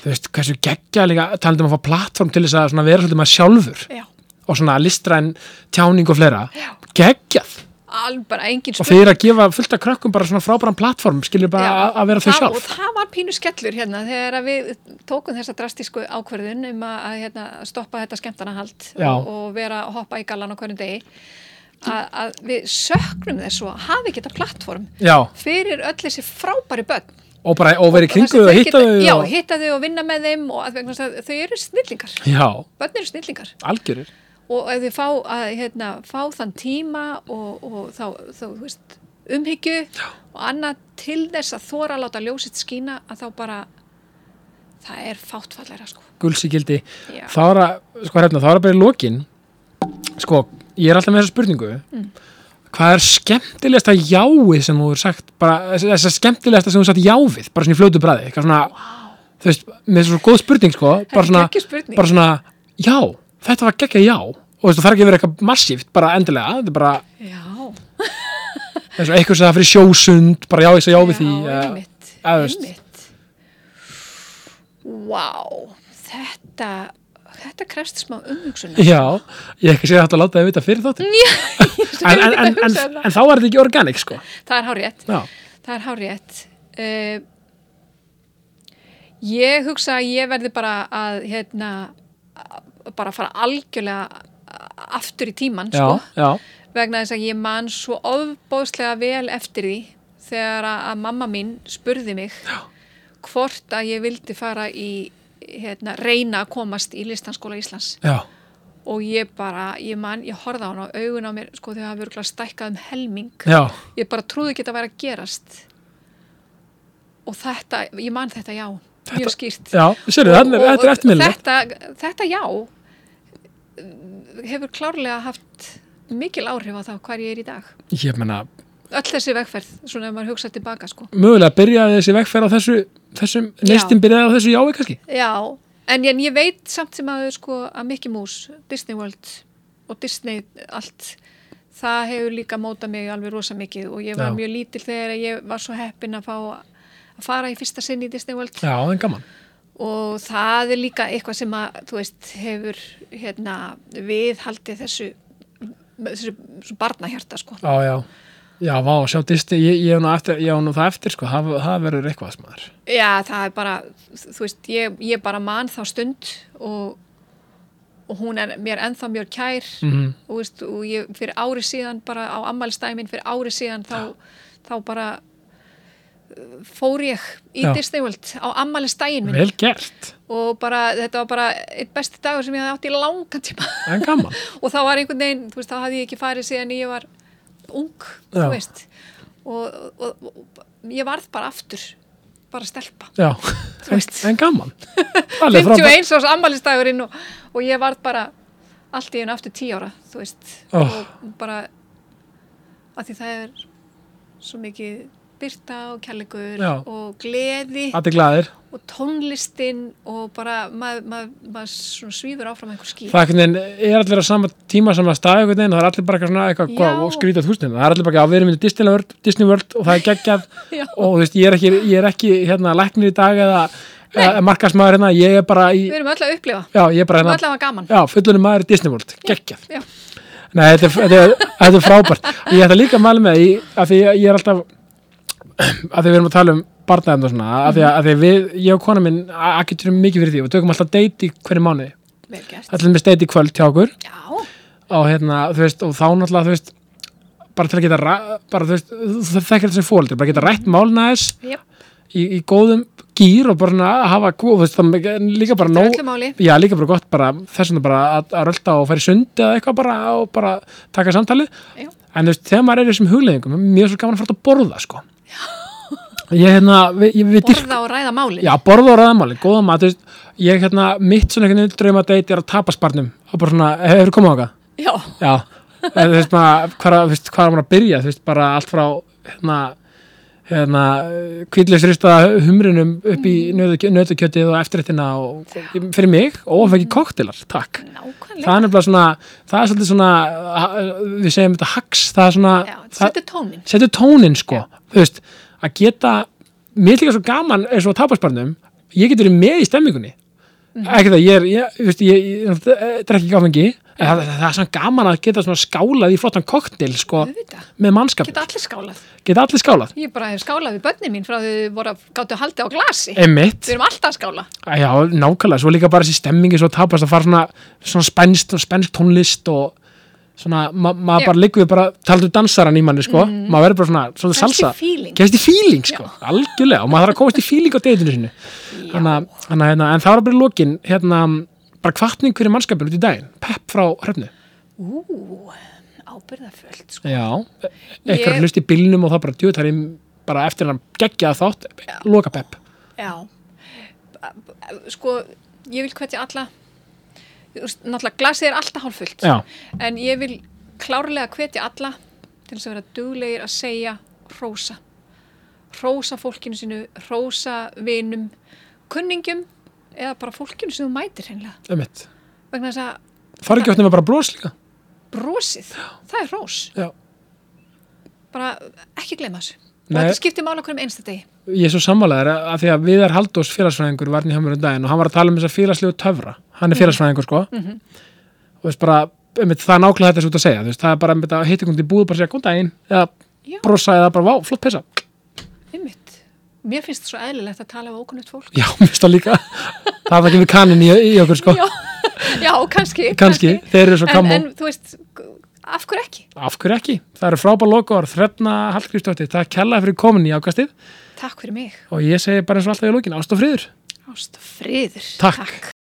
A: Þú veist, hversu geggja líka, talandi um að fá plattform til þess að svona vera svolítið maður sjálfur.
B: já
A: og svona listræn tjáning og fleira
B: Já.
A: geggjað
B: alveg bara engin
A: og þeir eru að gefa fullt af krökkum bara svona frábæran plattform skilur bara
B: Já,
A: að- að vera þau
B: það-
A: sjálf
B: og það var pínu skellur hérna þegar að við tókum þessa drastísku ákverðun um að, að hérna, stoppa þetta skemmtanahald
A: Já.
B: og, og vera að hoppa í gallan á hverjum degi að, að við söknum þess svo að hafi geta plattform
A: já,
B: fyrir öll þessi frábæri börn
A: og bara og verið
B: Og þar
A: kringuð
B: sem þau
A: og hitta
B: geta-
A: þau
B: já,
A: og...
B: hitta þau og vinna með þeim og að, vegna þess að þau eru snillingar
A: já,
B: börn eru snillingar
A: algjörir
B: og ef þau fá, að, hérna, fá þann tíma og, og þá, þá þú veist, umhyggju og annað til þess að þóra að láta ljósitt skína að þá bara það er fáttfallera sko.
A: gulsigildi,
B: Já.
A: þá er að sko hérna, þá er að bara í lokin sko, ég er alltaf með þessa spurningu
B: Mm.
A: hvað er skemmtilegasta jáið sem þú er sagt bara, þess- þessa skemmtilegasta sem þú er sagt jávið bara svona í fljótu bræði, eitthvað svona þú veist, með svo góð spurning sko
B: Þetta
A: bara
B: er
A: svona,
B: geggjuð spurning.
A: bara svona, já, þetta var geggja já og þú veist, það þarf ekki að vera eitthvað massíft bara endilega, þetta er bara
B: Já,
A: eins og eitthvað sem það fyrir sjósund bara já, ég segi já við því
B: já,
A: eh,
B: einmitt,
A: eða, þú veist.
B: einmitt. Vá, þetta, þetta krefst smá umhugsunar.
A: já, ég ekki segja þetta að láta það vita fyrir þáttin en, en, en, en, en þá er þetta ekki organik sko
B: það er hárétt.
A: já,
B: Það er hárétt. Uh, ég hugsa að ég verði bara að hérna, að- bara fara algjörlega aftur í tíman
A: já,
B: sko,
A: já,
B: vegna þess að ég man svo ofbóðslega vel eftir því þegar að, að mamma mín spurði mig já. hvort að ég vildi fara í hérna, reyna að komast í listanskóla Íslands
A: já
B: og ég bara, ég man, ég horfði á hana og augun á mér, sko þau hafa verið stækkað um helming
A: já,
B: ég bara trúði ekki að þetta væri að gerast og þetta, ég man þetta já mjög skýrt
A: já, sérðu,
B: Og-
A: þetta er-
B: og-
A: þetta er
B: og
A: eftirmiðlega
B: þetta, þetta já uh, hefur klárlega haft mikil áhrif á það hvað ég er í dag
A: ég meina,
B: öll þessi vegferð, svona ef maður hugsa tilbaka sko.
A: mögulega byrjaði þessi vegferð á þessu þessum,
B: Já.
A: neistinn byrjaði á þessu jái kannski
B: já, en, en ég veit samt sem að, sko, að Mickey Mouse, Disney World og Disney allt það hefur líka mótað mig alveg rosa mikið og ég var
A: Já.
B: mjög lítil þegar ég var svo heppin að fá að fara í fyrsta sinn í Disney World
A: já, en gaman
B: og það er líka eitthvað sem að þú veist hefur hérna, viðhaldið þessu þessu, þessu barnahjarta sko.
A: Já, já. Já, vá, sjá Disney, ég, ég, á nú eftir, ég á nú það eftir, sko, það, það verður eitthvað smaður.
B: Já, það er bara þú veist, ég, ég bara man þá stund og, og hún er mér ennþá mjög kær
A: Mhm.
B: og, veist, og ég fyrir ári síðan bara á ammælstæmin fyrir ári síðan þá, þá bara uh, fór ég í
A: Já.
B: Disney World á ammælstægin minn
A: Vel gert,
B: og bara, þetta var bara eitt besti dagur sem ég hafði átt í langan tíma
A: en gaman.
B: og þá var einhvern veginn, þú veist, þá hafði ég ekki farið síðan ég var ung, þú
A: Já.
B: veist og, og, og, og ég varð bara aftur bara stelpa
A: Já,
B: Þú veist.
A: en gaman. Alveg frábært.
B: 51 ás ammælistagurinn og, og ég varð bara allt í hennu aftur 10 ára, þú veist
A: Ó.
B: og bara að því það er svo mikið byrta og kjærleikur
A: Já.
B: og gleði
A: allir glæðir
B: og tónlistin og bara maður mað, mað svífur áfram einhver skýr
A: það einhvern veginn er allir á sama tíma sama stað einhvern veginn og það er allir bara eitthvað svona eitthvað
B: Já.
A: góð og skrítið húsnum það er allir bara eitthvað, "Já, við erum í Disney World, Disney World og það er geggjað
B: Já.
A: og þú veist ég er ekki, ég er ekki hérna læknir í dag eða, eða markasmaður hérna ég er bara í,
B: við erum öll að upplifa,
A: já ég er bara
B: við erum
A: hérna
B: öll að hafa gaman
A: já fullunum maður í Disney World, geggjað
B: já,
A: Nei, þetta er, þetta er, þetta er frábært og ég ætla líka að mæla með því að því ég, ég er alltaf að því við erum að tala um barnaefn og svona að
B: Mhm.
A: því að, að því við, ég og kona minn að getur mikið fyrir því og við tökum alltaf date í hverju mánuði
B: vel gert
A: allir með date í kvöld hjá okkur
B: já,
A: og hérna, þú veist, og þá náttúrulega þú veist, bara til að geta ra- bara þú veist, það þekkir þessi fólk bara geta rætt málna þess
B: jöp,
A: í, í góðum gýr og bara svona að hafa góð, þú veist, það er líka bara
B: það er
A: nóg
B: öllu máli
A: Já, líka bara gott bara þess vegna bara að, að rölda og fara í sund eða eitthvað bara og bara taka samtalið
B: Já.
A: en þú veist, þegar maður er í þessum hugleðingum mér er svo gaman að fara út að borða, sko Ég, hérna, við, ég, við dyrk
B: borða og ræða máli
A: Já, borða og ræðamáli, góða mat, þú veist ég, hérna, mitt svona einhvern veginn draumadeit er að tapa sparnum og bara svona, hefur komið á okkar?
B: já,
A: Já, en, þú veist maður hvað er- þú veist, hvað er maður að byrja, þú veist, bara allt frá hérna, hérna kvítlisristaða humrinum upp í nautakjötið og eftirréttina og fyrir mig, óafækki koktelar, takk.
B: Mm.
A: Það
B: nákvæmlega
A: er nefnilega svona, það er svolítið svona, ha- við segjum þetta hags, það er svona,
B: já,
A: það-
B: setja tónin
A: setur tónin sko þú veist, að geta mér er líka svo gaman eins og að tapasparnum ég getur með í stemmingunni ekki það, ég er, ég, þú veist, ég, ég, ég þetta er ekki gáfengi, en það, það, það er svona gaman að geta svona skálað í flottan koktel sko,
B: Auðvitað.
A: með mannskap,
B: geta allir skálað
A: geta allir skálað
B: ég bara hef skálað við börnin mín frá því þau voru að gáttu að halda á glasi við
A: Emmitt,
B: erum alltaf að skála
A: já, nákvæmlega, svo líka bara þessi stemmingi svo tapast að fara svona, svona spænst og spænst tónlist og svona, ma maður
B: Já.
A: bara liggur við bara, taldu dansaran í manni, sko, maður verður bara svona, svona
B: Kannski
A: salsa,
B: feeling.
A: kemst í feeling, sko, algjörlega, og maður þarf að komast í feeling á deytinu sinu. Hanna, hanna, hérna, en það var bara í lokin, hérna, bara kvartning fyrir mannskapin út í daginn, pepp frá hrefnu.
B: ú, ábyrðaföld sko.
A: Já, eitthvað ég...
B: Ég-
A: hlust í bílnum og það bara djúið þar í, bara eftir hann geggja þátt, loka pepp.
B: Já, sko, ég vil hvetja alla, þú veist, náttúrulega glasið er alltaf hálffullt,
A: Já,
B: en ég vil klárlega hvetja alla til þess að vera duglegir að segja hrósa. Hrósa fólkinu sinu, hrósa vinum, kunningjum eða bara fólkinu sem þú mætir hreinlega.
A: emmitt.
B: Vegna þess að
A: Fara ekki átt nema bara bros líka.
B: brosið, það er hrós,
A: Já.
B: bara ekki gleyma þessu. Og
A: Nei.
B: þetta skiptir mála hverjum einsta degi.
A: ég er svo sammálaður að af því að Viðar Haldós félagsfræðingur var hann í hömur um daginn og hann var að tala um þess að félagslegu töfra hann
B: Mhm.
A: er félagsfræðingur sko og veist bara, einmitt, það er nákvæmlega þetta sem þú ert að segja þú veist, það er bara einmitt, að hitta einhvern í búð og bara segja góð daginn eða
B: Já.
A: brosa eða bara, vá, flott pessa
B: Einmitt. Mér finnst það svo eðlilegt að tala af ókunnult fólk.
A: já, mér finnst það líka það er það ekki við kanin í, í okkur sko
B: já, já, kannski,
A: kannski, þeir eru svo
B: en,
A: kamó
B: en þú veist, af hverju ekki?
A: af hverju ekki, það eru frábæð lokaðar þrefna Hallgrímsdóttir, það er kellaði fyrir komin í ákastið
B: Takk fyrir mig,
A: og ég segi bara eins og alltaf í lókin, ást og friður
B: ást og friður
A: Takk.